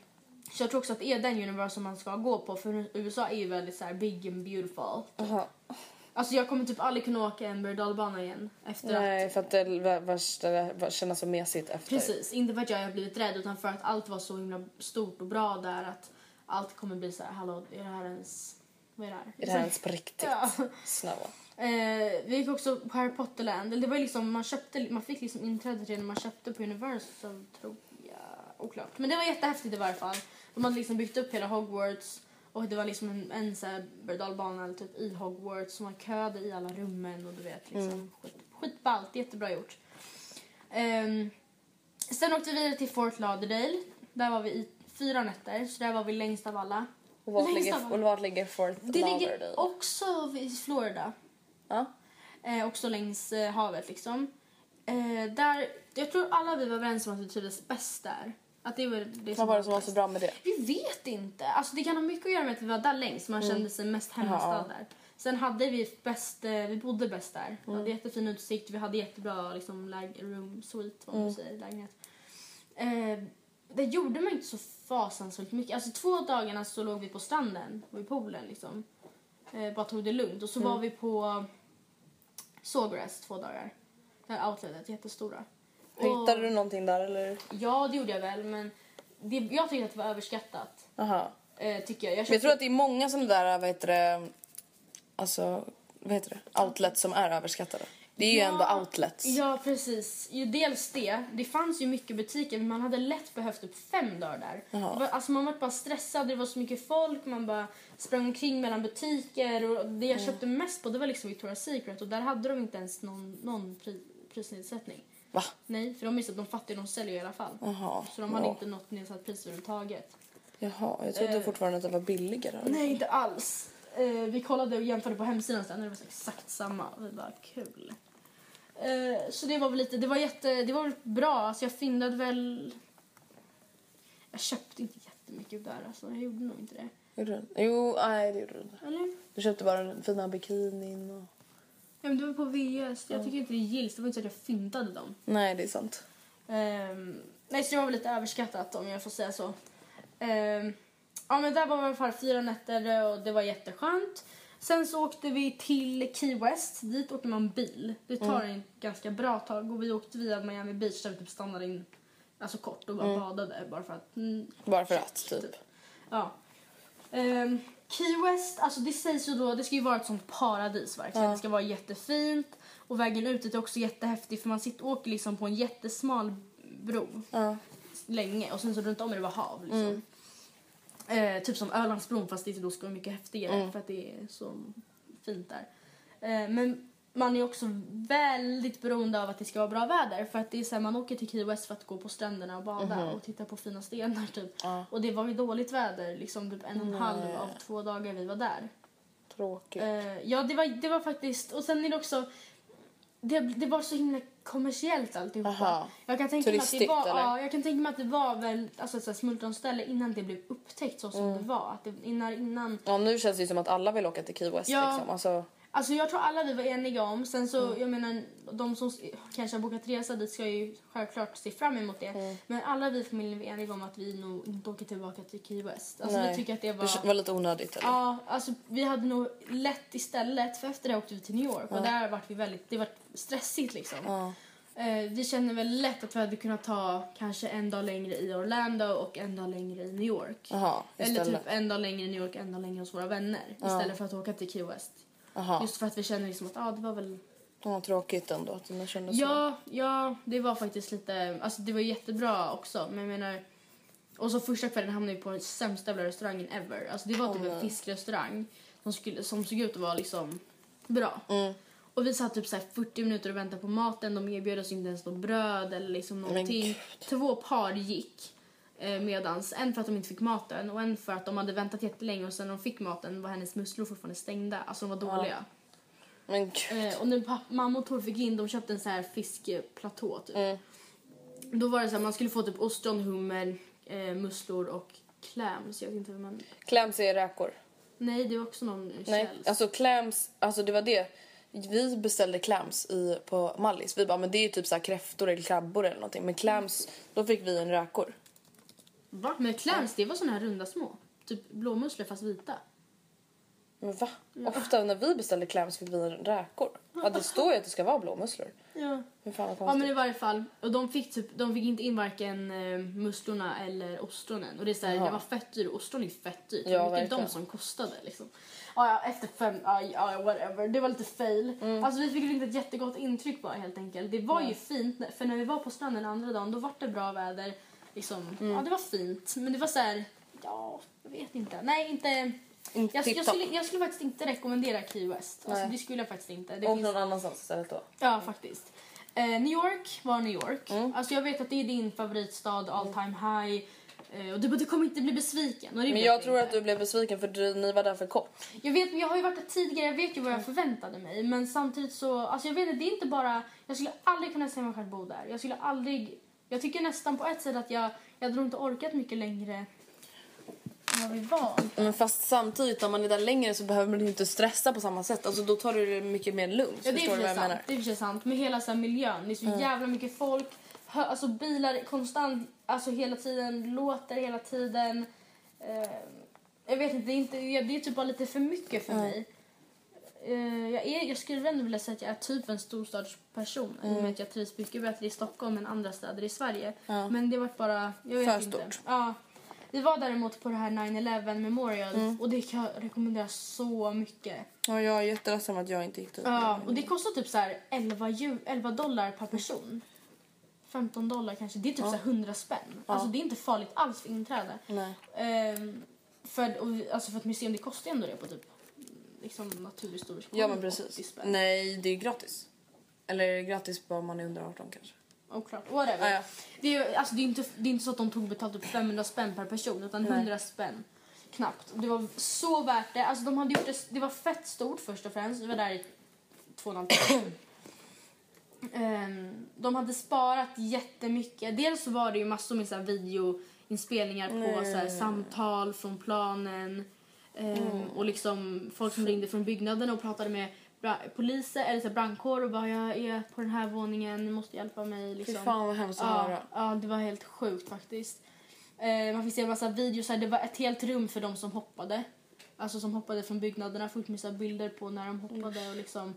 så jag tror också att det är den Universal man ska gå på för USA är ju väldigt så här big and beautiful.
Jaha.
Alltså jag kommer typ aldrig kunna åka en berg dalbana igen efter
Nej,
att...
för att det var, var, var, kännas så mesigt efter.
Precis, inte för att jag har blivit rädd utan för att allt var så himla stort och bra där att allt kommer bli så här, hallå är det här ens... Vad är det här?
Är det här ens på riktigt?
Ja.
Snälla.
Eh, vi gick också på Harry Potter Land. Eller Det var ju liksom, man, köpte, man fick liksom inträde till det när man köpte på Universal, tror jag. Oklart. Men det var jättehäftigt i varje fall. De hade liksom byggt upp hela Hogwarts och det var liksom en, en så här berg- dalbana, eller typ i Hogwarts som man köade i alla rummen och du vet liksom.
Mm.
Skit, skitballt, jättebra gjort. Ehm, sen åkte vi vidare till Fort Lauderdale. Där var vi i fyra nätter, så där var vi längst av alla. *laughs*
Och vart
Längst
ligger,
av
och vart ligger Fort
det
Lauderdale?
ligger också i Florida.
Ja.
Eh, också längs eh, havet liksom. Eh, där, jag tror alla vi var överens om att vi trivdes bäst där. Att det var det
Vad var det som var
bäst.
så bra med det?
Vi vet inte. Alltså det kan ha mycket att göra med att vi var där längst.
Mm.
Man kände sig mest hemmastad där. Sen hade vi bäst, eh, vi bodde bäst där. Vi hade
Mm.
jättefin utsikt. Vi hade jättebra liksom läg, room, suite, vad man
Mm.
säger, lägenhet. Eh, det gjorde man inte så fasansfullt mycket. Alltså två dagarna så låg vi på stranden och i poolen liksom. Eh, bara tog det lugnt. Och så
Mm.
var vi på Sawgrass två dagar. Det här outletet, jättestora.
Hittade du någonting där eller?
Ja, det gjorde jag väl, men det, jag tyckte att det var överskattat.
Aha.
Eh, tycker jag. Jag,
Men jag
köpte-
tror att det är många sådana där, vad heter det, alltså, vad heter det, outlets som är överskattade. Det är ju ändå outlets.
Ja, precis. Ju dels det. Det fanns ju mycket butiker, men man hade lätt behövt upp fem dagar där. Det var- Alltså man var bara stressad, det var så mycket folk, man bara sprang omkring mellan butiker. Och det
Mm.
jag köpte mest på det var liksom Victoria's Secret och där hade de inte ens någon, någon pri, prisnedsättning.
Va?
Nej, för de visste att de fattiga de säljer i alla fall.
Jaha.
Så de hade
Ja.
inte något nedsatt pris överhuvudtaget.
Jaha, jag trodde fortfarande att det var billigare.
Eh. Nej, inte alls. Eh, vi kollade och jämförde på hemsidan sen och det var så exakt samma. Och Vi bara, kul. Eh, så det var väl lite, det var jätte, det var väl bra. Alltså jag fyndade väl... Jag köpte inte jättemycket där alltså, jag gjorde nog inte det.
Gjorde du? Jo, nej det gjorde du inte.
Eller?
Du köpte bara den fina bikinin och...
Ja, men det var på VS, jag tycker inte det gills. Det var inte så att jag fyndade dem.
Nej, det är sant.
Ehm, nej, så det var väl lite överskattat om jag får säga så. Ehm, ja, men där var vi i alla fall fyra nätter och det var jätteskönt. Sen så åkte vi till Key West. Dit åkte man bil. Det tar en ganska bra tag och vi åkte via Miami Beach där vi typ stannade in alltså kort och bara badade bara för att mm,
Bara för att, typ.
Ja. Ehm, Key West, alltså det sägs ju då, det ska ju vara ett sånt paradis verkligen. Det ska vara jättefint och vägen ut dit är också jättehäftig för man sitter, åker liksom på en jättesmal bro länge och sen så runt om är det bara hav liksom. Eh, typ som Ölandsbron fast det då ska vara mycket häftigare för att det är så fint där. Eh, men man är också väldigt beroende av att det ska vara bra väder för att det är så här, man åker till Key West för att gå på stränderna och bada och titta på fina stenar typ. Och det var ju dåligt väder liksom typ en och en halv av två dagar vi var där.
Tråkigt.
Eh, ja, det var, det var faktiskt... Och sen är det också... Det, det var så himla kommersiellt alltihopa.
Aha.
Jag kan tänka mig att det
Turistigt,
var,
eller?
ja, jag kan tänka mig att det var väl alltså, ett så här smultronställe innan det blev upptäckt så som
Mm.
det var. Att det, innan, innan,
Ja, nu känns det ju som att alla vill åka till Key West
Ja.
liksom. Alltså,
alltså jag tror alla vi var eniga om. Sen så,
Mm.
jag menar, de som s- kanske har bokat resa dit ska ju självklart se fram emot det.
Mm.
Men alla vi i familjen var eniga om att vi nog inte åker tillbaka till Key West. Alltså vi
nej.
tycker att det
Det var lite onödigt eller?
Ja, alltså vi hade nog lätt istället för efter det åkte vi till New York och där var vi väldigt, det var stressigt liksom. Eh, vi kände väl lätt att vi hade kunnat ta kanske en dag längre i Orlando och en dag längre i New York.
Jaha,
Eller
istället.
typ en dag längre i New York, en dag längre hos våra vänner istället för att åka till Key West.
Jaha.
Just för att vi kände liksom att ah, det var väl
Ja, tråkigt ändå att den kändes så.
Ja, ja, det var faktiskt lite... Alltså det var jättebra också, men jag menar... Och så första kvällen hamnade vi på den sämsta jävla restaurangen ever. Alltså det var typ en fiskrestaurang som, skulle, som såg ut att vara liksom bra. Och vi satt typ så här 40 minuter och väntade på maten. De erbjöd oss inte ens något bröd eller liksom någonting. Två par gick. Eh, Medans, en för att de inte fick maten och en för att de hade väntat jättelänge och sen när de fick maten var hennes musslor fortfarande stängda. Alltså de var dåliga.
Men gud.
Eh, och när pappa, mamma och Tor fick in, de köpte en så här fiskplatå typ.
Mm.
Då var det så här, man skulle få typ ostron, hummer, eh, musslor och clams. Jag vet inte hur man...
Clams är räkor.
Nej, det är också någon eh,
Nej,
Kjells.
alltså clams, alltså det var det. Vi beställde clams i, på Mallis. Vi bara, men det är ju typ så här kräftor eller krabbor eller någonting. Men clams, då fick vi en räkor.
Va? Men clams, det var såna här runda små. Typ blåmusslor fast vita.
Men va? Ofta när vi beställde clams fick vi en räkor. Ja, det står ju att det ska vara blåmusslor.
Ja.
Hur fan vad
Ja
konstigt.
men i varje fall, och de fick, typ, de fick inte in varken eh, musslorna eller ostronen. Och det är såhär, det var fett dyrt, ostron är fett dyrt.
Ja,
Ja, det inte
verkligen.
de som kostade liksom. Ja, ja, efter fem, ja, ja, whatever. Det var lite fail.
Mm.
Alltså vi fick inte ett jättegott intryck bara helt enkelt. Det var ju fint, när- för när vi var på stranden andra dagen då var det bra väder. Liksom,
Mm.
ja det var fint. Men det var så här, ja, jag vet inte. Nej, inte...
Inte
jag, jag,
tipptopp.
skulle, jag skulle faktiskt inte rekommendera Key West. Alltså,
Nej.
det skulle jag faktiskt inte. Det
Och
finns-
någon annanstans istället då.
Ja, faktiskt. Eh, New York var New York.
Mm.
Alltså jag vet att det är din favoritstad, all time high. Eh, och du bara, du kommer inte bli besviken. Och det
Men
vet
jag tror
inte.
att du blev besviken för du, Mm. ni var där för kort.
Jag vet, men jag har ju varit där tidigare, jag vet ju vad jag förväntade mig. Men samtidigt så, alltså jag vet inte, det är inte bara, jag skulle aldrig kunna se mig själv bo där. Jag skulle aldrig, jag tycker nästan på ett sätt att jag, jag hade nog inte orkat mycket längre än vad vi var.
Men fast samtidigt om man är där längre så behöver man ju inte stressa på samma sätt. Alltså då tar du det mycket mer lugnt.
Ja, det är
förstår du vad
precis
jag
sant.
menar? Mm.
Det är precis sant. Med hela så här miljön. Det är så jävla mycket folk. Hö, alltså bilar konstant, alltså hela tiden. Låter hela tiden. Eh, jag vet inte, det är, inte, ja, det är typ bara lite för mycket för mig. Eh, jag, är, jag skulle ändå vilja säga att jag är typ en storstadsperson. I och
Mm.
med att jag trivs mycket bättre i Stockholm än andra städer i Sverige. Men det var bara... Jag vet
För
inte.
stort.
Ja. Vi var däremot på det här 9-11 memorial
Mm.
och det kan jag rekommendera så mycket.
Ja, jag är jätteledsen om att jag inte gick dit.
Ja, och det kostar typ så här 11, ju- 11 dollar per person. 15 dollar kanske. Det är typ så här 100 spänn. Alltså det är inte farligt alls för inträde.
Nej.
Ehm, för, och, vi- alltså för ett museum det kostar ju ändå det på typ liksom naturhistorisk
Ja men
80
precis.
spänn.
Nej det är gratis. Eller är det gratis bara om man är under 18 kanske.
Oklart. Whatever.
Ja, ja.
Det, är, ju- alltså, det, är inte, det är inte så att de tog betalt upp 500 spänn per person utan 100 spänn knappt. Och Det var så värt det. Alltså, de hade gjort det, det var fett stort först och främst. Vi var där i två och en halv timme. Ehm, de hade sparat jättemycket. Dels så var det ju massor med så här videoinspelningar på så här, samtal från planen. Ehm,
Mm.
Och liksom folk som ringde från byggnaden och pratade med bra- poliser eller så här, brandkår och bara jag är på den här våningen, ni måste hjälpa mig. Liksom.
fan, vad hemskt att
ja,
höra.
Ja, det var helt sjukt faktiskt. Eh, man fick se en massa videos, här. det var ett helt rum för de som hoppade. Alltså som hoppade från byggnaderna, fullt med så här bilder på när de hoppade och liksom.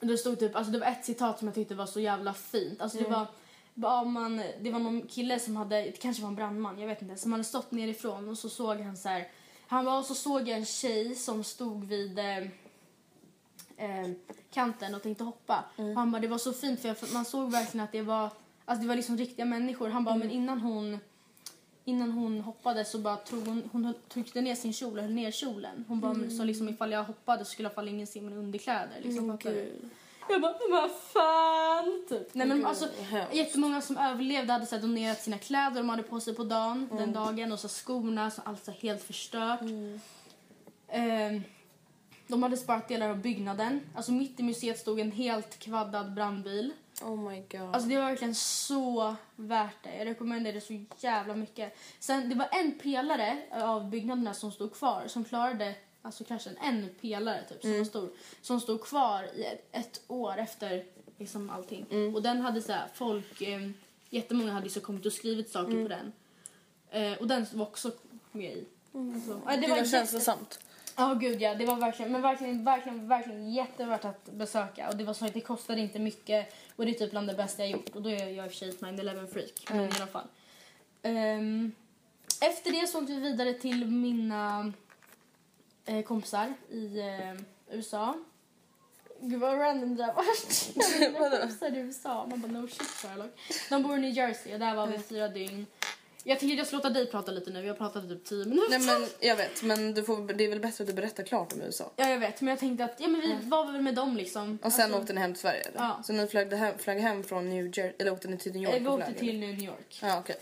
Det stod typ, alltså det var ett citat som jag tyckte var så jävla fint. Alltså det var bara om man, det var någon kille som hade, det kanske var en brandman, jag vet inte, som hade stått nerifrån och så såg han så här. Han var och så såg jag en tjej som stod vid eh, eh, kanten och tänkte hoppa. Och han bara, det var så fint för jag, man såg verkligen att det var, alltså det var liksom riktiga människor. Han bara, men innan hon innan hon hoppade så bara tog hon, hon höll- tryckte ner sin kjol och höll ner kjolen. Hon bara, så liksom ifall jag hoppade så skulle i alla fall ingen se mina underkläder. Liksom, fattar du? jag bara, men vad fan! Typ. Nej, men alltså, jättemånga som överlevde hade så här, donerat sina kläder de hade på sig på dagen, den dagen och så här, skorna, så allt så här, helt förstört. Ehm, de hade sparat delar av byggnaden. Alltså mitt i museet stod en helt kvaddad brandbil.
Oh my god.
Alltså det var verkligen så värt det. Jag rekommenderar det så jävla mycket. Sen det var en pelare av byggnaderna som stod kvar som klarade alltså kraschen. En pelare typ som, var stor, som stod kvar i ett, ett år efter liksom allting. Och den hade så här, folk, eh, jättemånga hade så kommit och skrivit saker på den. Eh, och den var också med i. Så, ja,
det,
var
var
jätte-
känslosamt.
Ja, gud ja. Det var verkligen, men verkligen, verkligen, verkligen jättevärt att besöka. Och det var så att det kostade inte mycket. Och det är typ bland det bästa jag gjort. Och då är jag i och för sig ett 9-11 freak. Men
Mm.
i alla fall. Ehm, efter det så åkte vi vidare till mina eh, kompisar i eh, USA. Gud vad random det där
*laughs*
vart. Jag vet, Mina kompisar i USA. Man bara no shit Sherlock. De bor i New Jersey och där var vi
Mm.
fyra dygn. Jag tänker jag ska låta dig prata lite nu. Jag pratade typ 10 minuter.
Nej men jag vet men du får, det är väl bättre att du berättar klart om USA.
Ja, jag vet. Men jag tänkte att ja, men vi var väl med dem liksom.
Och sen åkte ni hem till Sverige eller?
Ja.
Så ni flög hem, flög hem från New Jersey, eller åkte ni till New York?
eh, vi
och
åkte
flög,
till New York.
eller? Ja okej.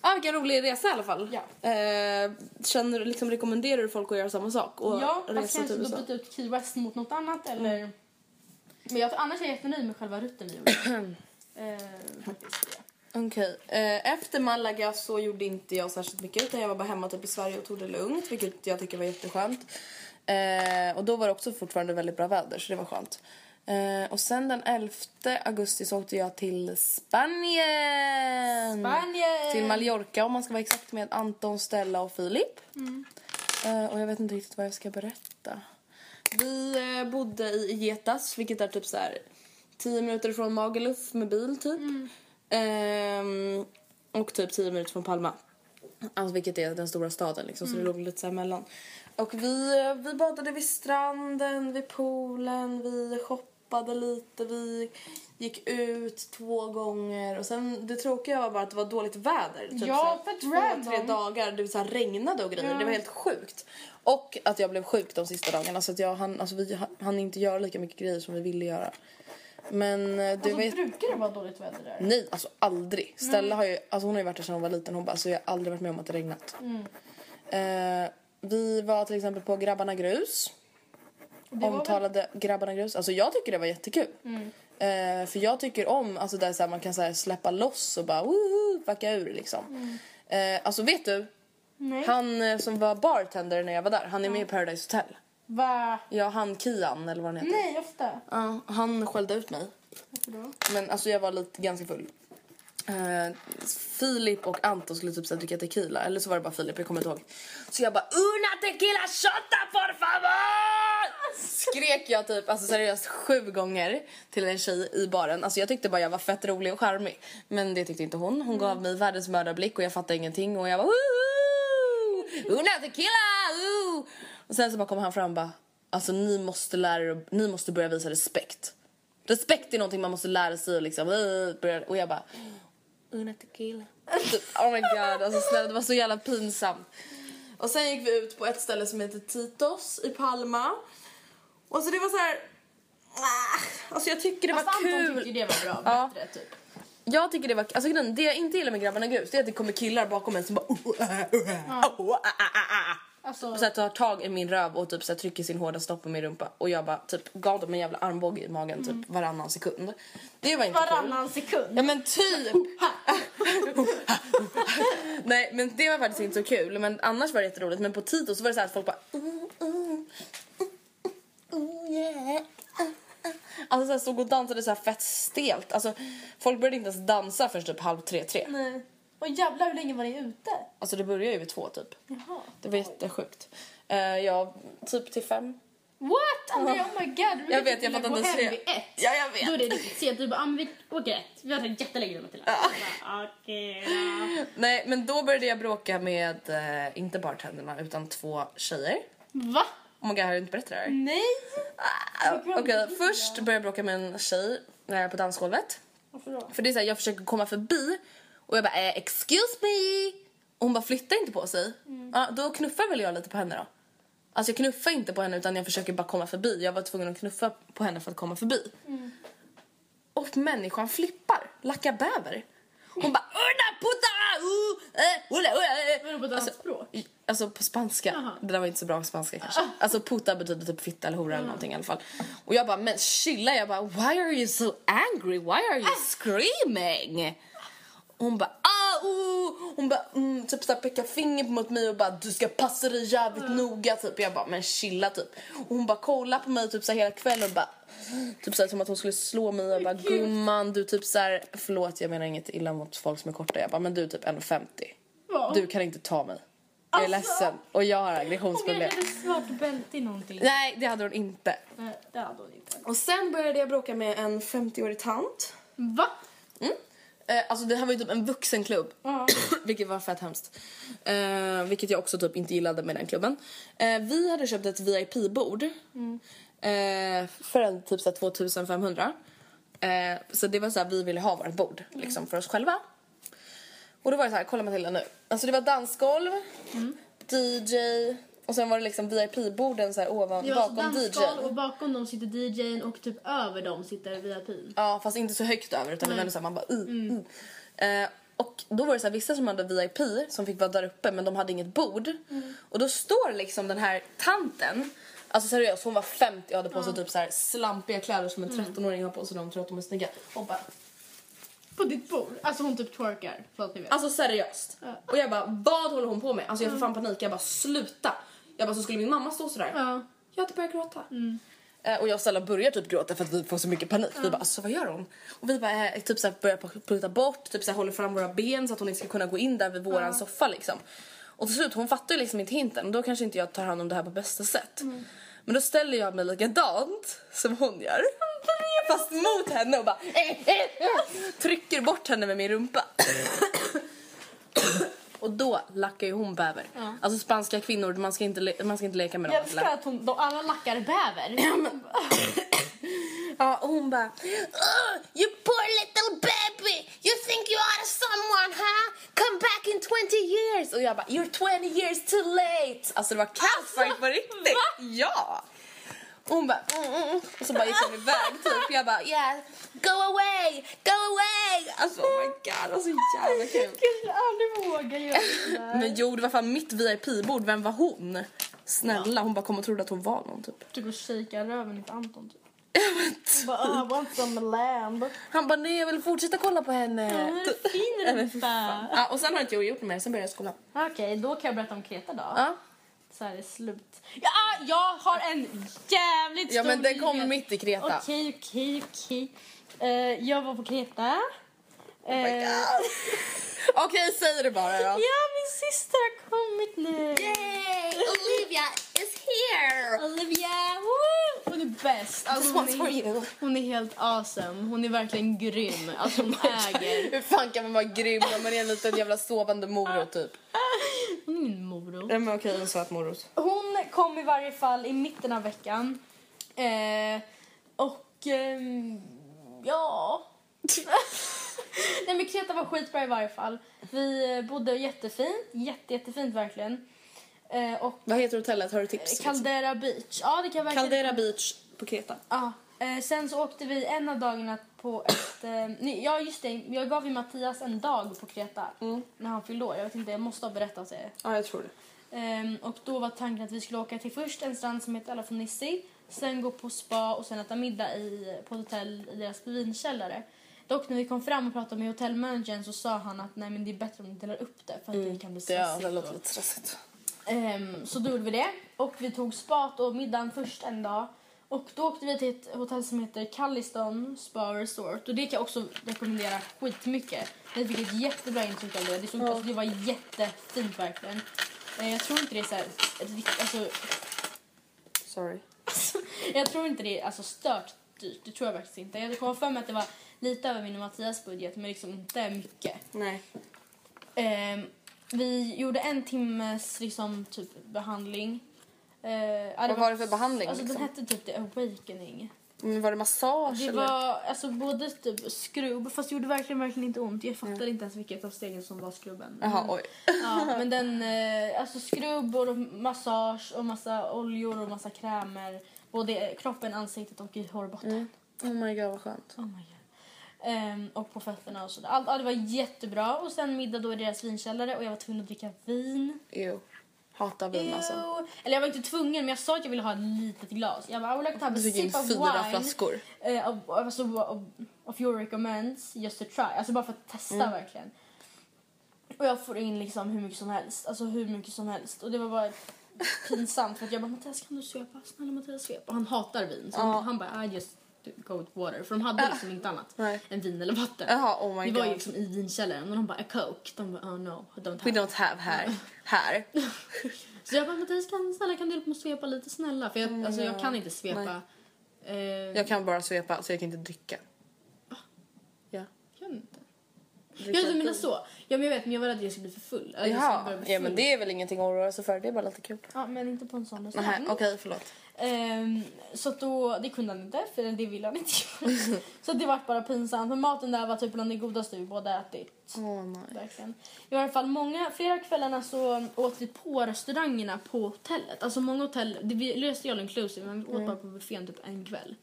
Ah, vilken rolig resa i alla fall. Eh, känner, du- liksom, rekommenderar du folk att göra samma sak? Och
Ja, fast
resa
kanske
till
då
USA? Mm.
byta ut Key West mot något annat eller... Men jag, annars är jag jättenöjd med själva rutten vi
*clears throat*
gjorde. eh, faktiskt. ja.
Okej. Eh, efter Malaga så gjorde inte jag särskilt mycket utan jag var bara hemma typ i Sverige och tog det lugnt vilket jag tycker var jätteskönt. Eh, och då var det också fortfarande väldigt bra väder så det var skönt. Eh, och sen den 11 augusti så åkte jag till Spanien!
Spanien!
Till Mallorca om man ska vara exakt med Anton, Stella och Filip. Eh, och jag vet inte riktigt vad jag ska berätta. Vi eh, bodde i Getas, vilket är typ så här 10 minuter från Magaluf med bil typ.
Mm.
Ehm, och typ 10 minuter från Palma. Alltså vilket är den stora staden liksom, så
Mm.
det låg lite så här emellan. Och vi, eh, vi badade vid stranden, vid poolen, vi shoppade lite, vi gick ut två gånger. Och sen det tråkiga var bara att det var dåligt väder. Typ
Ja,
så här
för att
Två, tre
random.
dagar, det så här regnade och grejer. Det var helt sjukt. Och att jag blev sjuk de sista dagarna så att jag hann, alltså vi hann inte göra lika mycket grejer som vi ville göra. Men eh, det
Alltså,
var ju-
brukar det vara dåligt väder där?
Nej, alltså aldrig. Stella har ju, alltså hon har ju varit där sedan hon var liten. Hon bara, alltså jag har aldrig varit med om att det regnat.
Mm.
Eh, vi var till exempel på Grabbarna Grus.
var Mm.
Omtalade Grabbarna Grus. Alltså jag tycker det var jättekul. Eh, för jag tycker om, alltså där så här, man kan så här, släppa loss och bara woohoo, fucka ur liksom. Eh, alltså vet du?
Mm. Nej.
Han eh, som var bartender när jag var där, han är med i Paradise Hotel.
Va?
Ja, han Kian eller vad han heter.
Nej, ofta.
Ja, han skällde ut mig.
Varför då?
Men alltså jag var lite ganska full. Eh, Filip och Anton skulle typ så här dricka tequila, eller så var det bara Filip, jag kommer inte ihåg. Så jag bara UNA TEQUILA SHOTA FOR FAVOR! Skrek jag typ alltså seriöst sju gånger till en tjej i baren. Alltså jag tyckte bara jag var fett rolig och charmig. Men det tyckte inte hon. Hon gav mig världens mördarblick och jag fattade ingenting och jag bara Woohoo! UNA TEQUILA! Ooh! Och sen så bara kom han fram och bara Alltså ni måste lära er, ni måste börja visa respekt. Respekt är någonting man måste lära sig och liksom eh, börja- och jag bara Una tequila. oh my god, alltså snälla det var så jävla pinsamt. Och sen gick vi ut på ett ställe som heter Titos i Palma. Och så det var så här ah, alltså jag tycker det
Fast
var
Anton
kul.
tyckte ju det var bra,
Ja.
bättre typ.
Jag tycker det var alltså grejen, det jag inte gillar med grabbarna grus det är att det kommer killar bakom en som bara oh, ah, oh, ah, oh, ah, ah, ah, ah.
Alltså,
Och så här, tar tag i min röv och typ så här, trycker sin hårda stopp på min rumpa. Och jag bara typ gav dem en jävla armbåge i magen typ varannan sekund. Det var inte
Mm. varannan
kul.
sekund.
Ja men typ! Nej men det var faktiskt inte så kul. Men annars var det jätteroligt. Men på Tito så var det så här att folk bara... "Oh, oh, oh, oh, yeah. Alltså så här, stod och dansade så här fett stelt. Alltså folk började inte ens dansa förrän typ halv tre, tre.
Nej. Och jävlar hur länge var ni ute?
Alltså det började ju vid två typ.
Jaha.
Det var jättesjukt. Uh, ja, typ till fem.
What? Andrea, oh my god. du brukar
Jag vet, jag
till och med
fattar
gå
inte ens
hem
det.
vid ett.
Ja, jag vet.
Då är det riktigt sent. Du bara, ah, men vi åker ett. Vi har tagit jättelänge nu Matilda. Jag bara, Okej då.
Nej, men då började jag bråka med, eh, inte bartenderna, utan två tjejer.
Va?
Oh my god, har jag inte berättat det här?
Nej.
Ah, Okej, först började jag bråka med en tjej eh, på dansgolvet.
Varför då?
För det är så här, jag försöker komma förbi och jag bara eh, excuse me. Och hon bara flyttar inte på sig. Ja, då knuffar väl jag lite på henne då. Alltså jag knuffar inte på henne utan jag försöker bara komma förbi. Jag var tvungen att knuffa på henne för att komma förbi. Och människan flippar, lackar bäver. Hon bara una puta! Uh, eh, ula, ula, eh.
Vadå, på dansspråk?
Alltså, Alltså på spanska. Det där var inte så bra på
Ah.
spanska kanske. Alltså puta betyder typ fitta eller hora eller någonting i alla fall. Och jag bara, men chilla. Jag bara, why are you so angry? Why are
Ah.
you screaming? Hon bara, ah, oh. Hon bara, mm, typ såhär pekar finger mot mig och bara, du ska passa dig jävligt noga typ. Jag bara, men chilla typ. Och hon bara kollar på mig typ såhär hela kvällen och bara, typ såhär som att hon skulle slå mig. Jag bara, gumman du typ såhär, förlåt jag menar inget illa mot folk som är korta. Jag bara, men du är typ 1,50.
Va?
Du kan inte ta mig. Jag är
Alltså.
ledsen och jag har
Hon kanske
aggressionsproblem.
hade svart bälte i någonting.
Nej, det hade hon inte.
Nej, det hade hon inte.
Och sen började jag bråka med en 50-årig tant.
Va?
Mm. Eh, alltså det här var ju typ en vuxenklubb. *coughs* vilket var fett hemskt. Eh, vilket jag också typ inte gillade med den klubben. Eh, vi hade köpt ett VIP-bord.
Mm.
Eh, för en typ så här 2500. Eh, så det var så här, vi ville ha vårt bord
Mm.
liksom för oss själva. Och då var det så här, kolla Matilda nu. Alltså det var dansgolv,
Mm.
DJ och sen var det liksom VIP-borden så här ovan,
Det var alltså
bakom DJ.
dansgolv och bakom dem sitter DJn och typ över dem sitter VIPn.
Ja, fast inte så högt över utan det var ändå så här, man bara uh, uh. Eh, Och då var det så här, vissa som hade VIP som fick vara där uppe men de hade inget bord. Och då står liksom den här tanten, alltså seriöst hon var 50 och hade på sig typ så här slampiga kläder som en 13-åring har på sig de tror att de är snygga. Och bara,
På ditt bord. Alltså hon typ twerkar. För att ni vet.
Alltså seriöst. Och jag bara, vad håller hon på med? Alltså jag får fan panik. Jag bara, sluta. Jag bara, så skulle min mamma stå sådär.
Ja. Mm.
Jag hade börjat gråta. Eh, Och jag och Stella börjar typ gråta för att vi får så mycket panik. Vi bara, alltså vad gör hon? Och vi bara, eh, typ såhär börjar pruta bort, typ såhär håller fram våra ben så att hon inte ska kunna gå in där vid våran soffa liksom. Och till slut, hon fattar ju liksom inte hinten och då kanske inte jag tar hand om det här på bästa sätt.
Mm.
Men då ställer jag mig likadant som hon gör. *laughs* Fast mot henne och bara eh, eh, eh, *laughs* trycker bort henne med min rumpa. *coughs* Och då lackar ju hon bäver. Alltså spanska kvinnor, man ska inte, le- man ska inte leka med dem.
Jag älskar att hon, de, alla lackar bäver. *laughs*
Ja, och hon bara... Oh, *gasps* you poor little baby! You think you are someone, huh? Come back in 20 years! Och jag bara, you're 20 years too late! Alltså det var kaffefight på riktigt! Ja! Och hon bara... Mm, mm. mm. Och så bara gick hon iväg typ. Jag bara, yeah, go away, go away! Alltså oh my god, alltså jävla
Jag
kul.
skulle aldrig våga göra
*laughs*
sådär.
Men jo, det var fan mitt VIP-bord. Vem var hon? Snälla, hon bara kom och trodde att hon var någon typ. *laughs*
Du går och kikar röven i Anton typ.
Ah,
Bara, "Ah." I want some lamb.
Han bara, nej jag vill fortsätta kolla på henne. Typ.
Hon är fin rumpa.
Ja, och sen har inte jag gjort mer, sen började jag skolan.
Okej, då kan jag berätta om Kreta då.
Ja.
Så här är slut. Ja, ah, jag har en jävligt stor
Ja, men den kom
nyhet.
mitt i Kreta.
Okej, okej, okej. Eh, jag var på Kreta.
Oh
Eh,
Okej, säg det bara då.
ja, min syster har kommit nu.
Yay! Olivia is here!
Olivia! Woo! Hon är bäst. Alltså, hon,
This one's for you.
är, hon är helt awesome. Hon är verkligen grym. Alltså, *laughs* hon äger.
Hur fan kan man vara grym när man är en liten jävla sovande morot typ?
Hon är min morot.
Nej men okej, en söt morot.
Hon kom i varje fall i mitten av veckan. Eh, och ehm, ja... *laughs* Nej men Kreta var skitbra i varje fall. Vi bodde jättefint, jätte, jättefint verkligen. Eh, och
Vad heter hotellet? Har du tips?
Eh,
Liksom.
Caldera Beach. Ja, det kan verkligen...
Caldera Beach på Kreta.
Ja. Eh, sen så åkte vi en av dagarna på ett... Eh, nej, ja, just det. Jag gav ju Mattias en dag på Kreta
Mm.
när han fyllde år. Jag vet inte, jag måste ha berättat det.
Ja, jag tror det.
Ehm, och då var tanken att vi skulle åka till först en strand som heter Alafonissi, sen gå på spa och sen äta middag i, på ett hotell i deras vinkällare. Dock när vi kom fram och pratade med hotellmanagern så sa han att nej men det är bättre om ni delar upp det för att det kan bli
Det, Mm. ja,
stressigt.
det låter lite stressigt.
Ehm, så då gjorde vi det. Och vi tog spat och middagen först en dag. Och då åkte vi till ett hotell som heter Calliston Spa Resort. Och det kan jag också rekommendera skitmycket. Vi fick ett jättebra intryck av det. Det, såg, alltså, det var jättefint verkligen. Eh, jag tror inte det är så här, rikt- alltså, *laughs*
Sorry.
jag tror inte det är alltså, stört dyrt. Det tror jag faktiskt inte. Jag kom för mig att det var lite över min och Mattias budget men liksom inte mycket.
Nej.
Ehm, vi gjorde en timmes liksom, typ, behandling. Eh, ja,
Vad var det för behandling,
Alltså,
liksom?
Den hette typ The Awakening.
Men var det massage
Det
eller?
var alltså, både typ skrubb, fast det gjorde verkligen, verkligen inte ont. Jag fattade inte ens vilket av stegen som var skrubben.
Jaha, oj.
Ja, men den, eh, alltså skrubb och massage och massa oljor och massa krämer. Både i kroppen, ansiktet och i hårbotten.
Oh my god, vad skönt.
Oh my God. Ehm, och på fötterna och sådär. Allt, ja, det var jättebra. Och sen middag då i deras vinkällare och jag var tvungen att dricka vin.
Ew. Hatar vin alltså.
Ew. Eller jag var inte tvungen men jag sa att jag ville ha ett litet glas. Jag bara I would like to have a
Du fick in
sip of
fyra
wine.
flaskor.
eh, of, of, alltså, of, of your recommends just to try. Alltså bara för att testa
Mm.
verkligen. Och jag får in liksom hur mycket som helst. Alltså hur mycket som helst. Och det var bara pinsamt för att jag bara Mattias kan du svepa? Snälla Mattias svepa. Och han hatar vin. Så han, han bara I just go with water. För de hade liksom inte annat
Ah. *laughs* Nej.
än vin eller vatten.
Jaha, oh my
det var ju
God.
liksom i vinkällaren och de bara a coke. De bara oh no, I don't have
We don't have här. Här.
så jag bara, Mattias kan, snälla kan du hjälpa mig att svepa lite snälla? För jag, alltså, jag kan inte svepa. Eh, jag
Mm, Jag kan bara svepa så jag kan inte dricka. Ja.
kan inte. Ja, du menar så. Ja, men jag vet, men jag var rädd att jag skulle bli för full. Eller jag skulle
Ja,
börja bli
ja
full.
men det är väl ingenting att oroa sig för, det är bara lite kul.
Ja, men inte på en sån
Nähä,
restaurang.
okej förlåt.
Ehm, så att då, det kunde han inte, för det ville han inte göra.
*laughs*
så det var bara pinsamt. Men maten där var typ bland det godaste vi båda ätit.
Åh nej.
Verkligen. I alla fall många, flera av kvällarna så åt vi på restaurangerna på hotellet. Alltså många hotell,
Mm.
det, vi löste ju all inclusive men vi åt bara på buffén typ en kväll.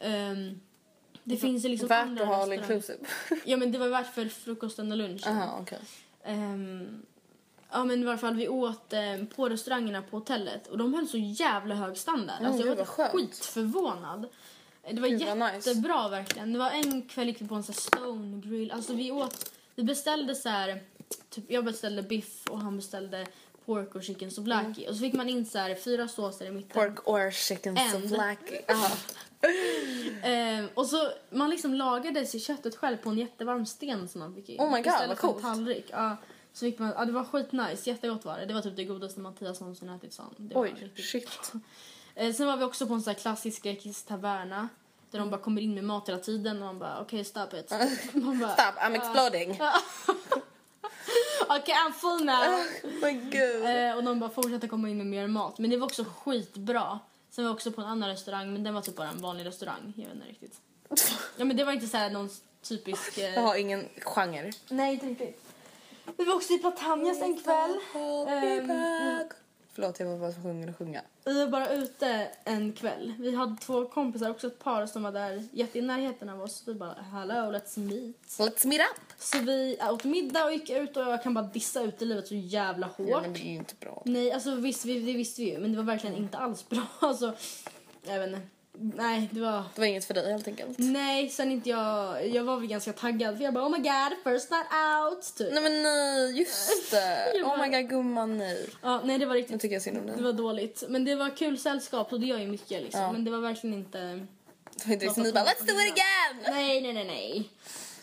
Ehm, Det finns ju liksom
Mhm. Värt
andra
att ha all
restauranger.
inclusive. *laughs*
Ja men det var värt för frukosten och lunchen.
Aha, okej.
Ehm, ja men i varje fall vi åt eh, på restaurangerna på hotellet och de höll så jävla hög standard.
Mm,
alltså jag
gud,
var
vad skönt.
skitförvånad. Det var
Gud, vad nice.
jättebra verkligen. Det var en kväll gick vi på en sån här stone grill. Alltså vi åt, vi beställde så här, typ jag beställde biff och han beställde pork och chicken souvlaki. Och så fick man in så här fyra såser i mitten.
Mm. Pork or chicken
And.
souvlaki. Aha.
*laughs* Ehm, och så man liksom lagade sig köttet själv på en jättevarm sten som man fick in.
Oh my god,
Istället
vad
för en
coolt.
tallrik. Ja, så fick man, ja, det var skitnice, jättegott var det. Det var typ det godaste Mattias någonsin ätit sa han. Det var
Oj,
riktigt
shit.
Eh, sen var vi också på en sån här klassisk grekisk taverna. Där
Mm.
de bara kommer in med mat hela tiden och man bara okej stop it.
*laughs*
Man bara,
Stop, I'm exploding.
*laughs*
*laughs*
Okej I'm full now.
Oh Men gud.
Eh, och de bara fortsatte komma in med mer mat. Men det var också skitbra. Sen var jag också på en annan restaurang men den var typ bara en vanlig restaurang. Jag vet inte riktigt. Ja men det var inte så här någon typisk...
Jag
Eh...
har ingen genre.
Nej inte riktigt. Vi var också i Platanias en kväll. Ehm,
Förlåt, jag var bara tvungen att sjunga.
Vi var bara ute en kväll. Vi hade två kompisar, också ett par som var där jätte i närheten av oss. Vi bara hello, let's meet.
Let's meet up!
Så vi åt middag och gick ut och jag kan bara dissa ut i livet så jävla hårt.
Ja, men det är ju inte bra.
Nej, alltså visst, vi, det visste vi ju, men det var verkligen inte alls bra. *laughs* Alltså, jag vet inte. Nej, det var...
Det var inget för dig helt enkelt.
Nej, sen inte jag... Jag var väl ganska taggad för jag bara oh my god, first night out, typ.
Nej men nej,
*laughs*
just det. Oh my god gumman nej.
Ja, nej, det var
Nu
riktigt
tycker jag synd om dig.
Det var dåligt. Men det var kul sällskap och det gör ju mycket liksom. Men det var verkligen inte...
Det var inte liksom ni bara let's do it again!
Nej, nej, nej, nej.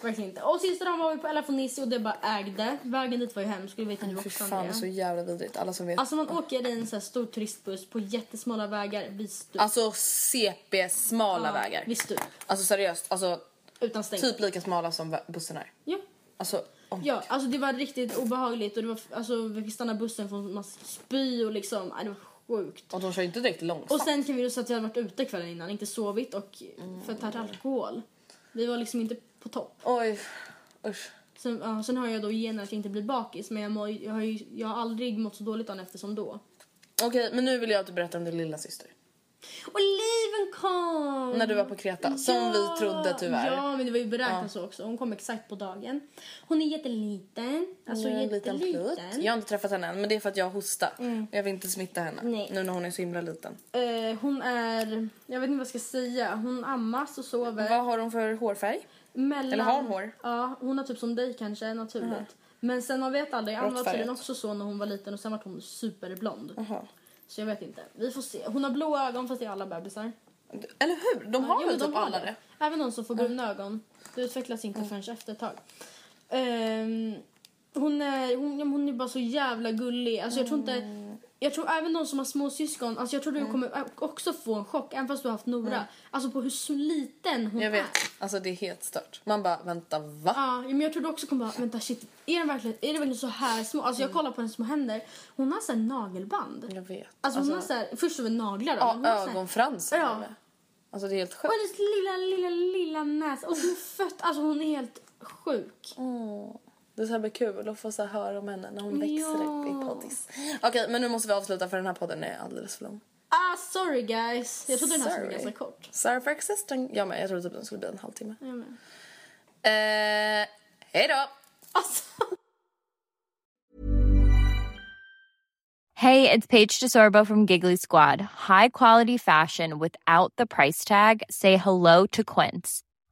Verkligen inte. Och sista dagen var vi på Elafonisi och det bara ägde. Vägen dit var ju hem, skulle veta nu också
Fy fan alltså. det är så
Andrea.
jävla vidrigt. Alla som vet.
Alltså man åker i en så här stor turistbuss på jättesmala vägar vid stup.
Alltså CP-smala
Ja,
vägar.
Vid stup.
Alltså seriöst, alltså
Utan stängsel.
typ lika smala som vä- bussen är.
Ja.
Alltså, oh.
ja, alltså det var riktigt obehagligt och det var, alltså, vi fick stanna bussen för att man spy och liksom, nej, det var sjukt.
Och de kör ju inte direkt långsamt.
Och sen kan vi ju säga att vi hade varit ute kvällen innan, inte sovit och förtärt alkohol. Vi var liksom inte på topp.
Oj, usch.
Sen, ja, sen har jag då gener att jag inte blir bakis men jag, mår, jag, har ju, jag har aldrig mått så dåligt dagen efter som då.
Okej, men nu vill jag att du berättar om din lilla syster.
Och liven kom!
När du var på Kreta, som vi trodde att du var.
Ja, men det var ju beräknat
Ja.
så också. Hon kom exakt på dagen. Hon är jätteliten. Alltså
Jag är en liten
jätteliten. Mm.
plutt. Jag har inte träffat henne än, men det är för att jag hostar. Jag vill inte smitta henne
Nej.
nu när hon är så himla liten.
Eh, hon är... Jag vet inte vad jag ska säga. Hon ammas och sover.
Vad har hon för hårfärg?
Mellan,
Eller har hon hår?
Ja, hon har typ som dig kanske, naturligt. Men sen man vet aldrig. Ann var
Råttfärgat.
tydligen också så när hon var liten och sen var hon superblond.
Jaha.
Så jag vet inte. Vi får se. Hon har blå ögon fast det är alla bebisar.
Eller hur? De har
Jo,
väl
men
typ
de har
alla det?
Även de som får bruna ögon. Det utvecklas inte förrän efter ett tag. Ehm, hon, är, hon, ja, men hon är bara så jävla gullig. Alltså, jag tror inte...
Mm.
Jag tror även de som har små syskon, alltså jag tror du kommer också få en chock även fast du har haft Nora. Alltså på hur så liten hon
Jag
är.
vet. Alltså det är helt stört. Man bara, vänta va?
Ja, men jag tror du också kommer bara, vänta shit, är det verkligen, är det verkligen så här små? Alltså jag kollar på hennes små händer, hon har såhär nagelband.
Mm. Jag vet.
Alltså, hon har såhär, först så var det naglar då. men hon
ja,
har så här-
ögonfransar.
Ja.
eller? Alltså det är helt
Och
sjukt.
hennes lilla, lilla, lilla näsa. Och små fötter. Alltså hon är helt sjuk.
Mm. Åh, Det ska bli kul att få så här höra om henne när hon växer upp i
Ja.
poddis. Okej, men nu måste vi avsluta för den här podden är alldeles för lång.
Ah, sorry guys. Jag trodde den här skulle bli
Sorry.
ganska kort.
Sorry for existing. Jag med, jag trodde typ den skulle bli en halvtimme.
Jag med.
Eh, hej då!
Alltså.
Hey, it's Paige DeSorbo from Giggly Squad. High quality fashion without the price tag. Say hello to Quince.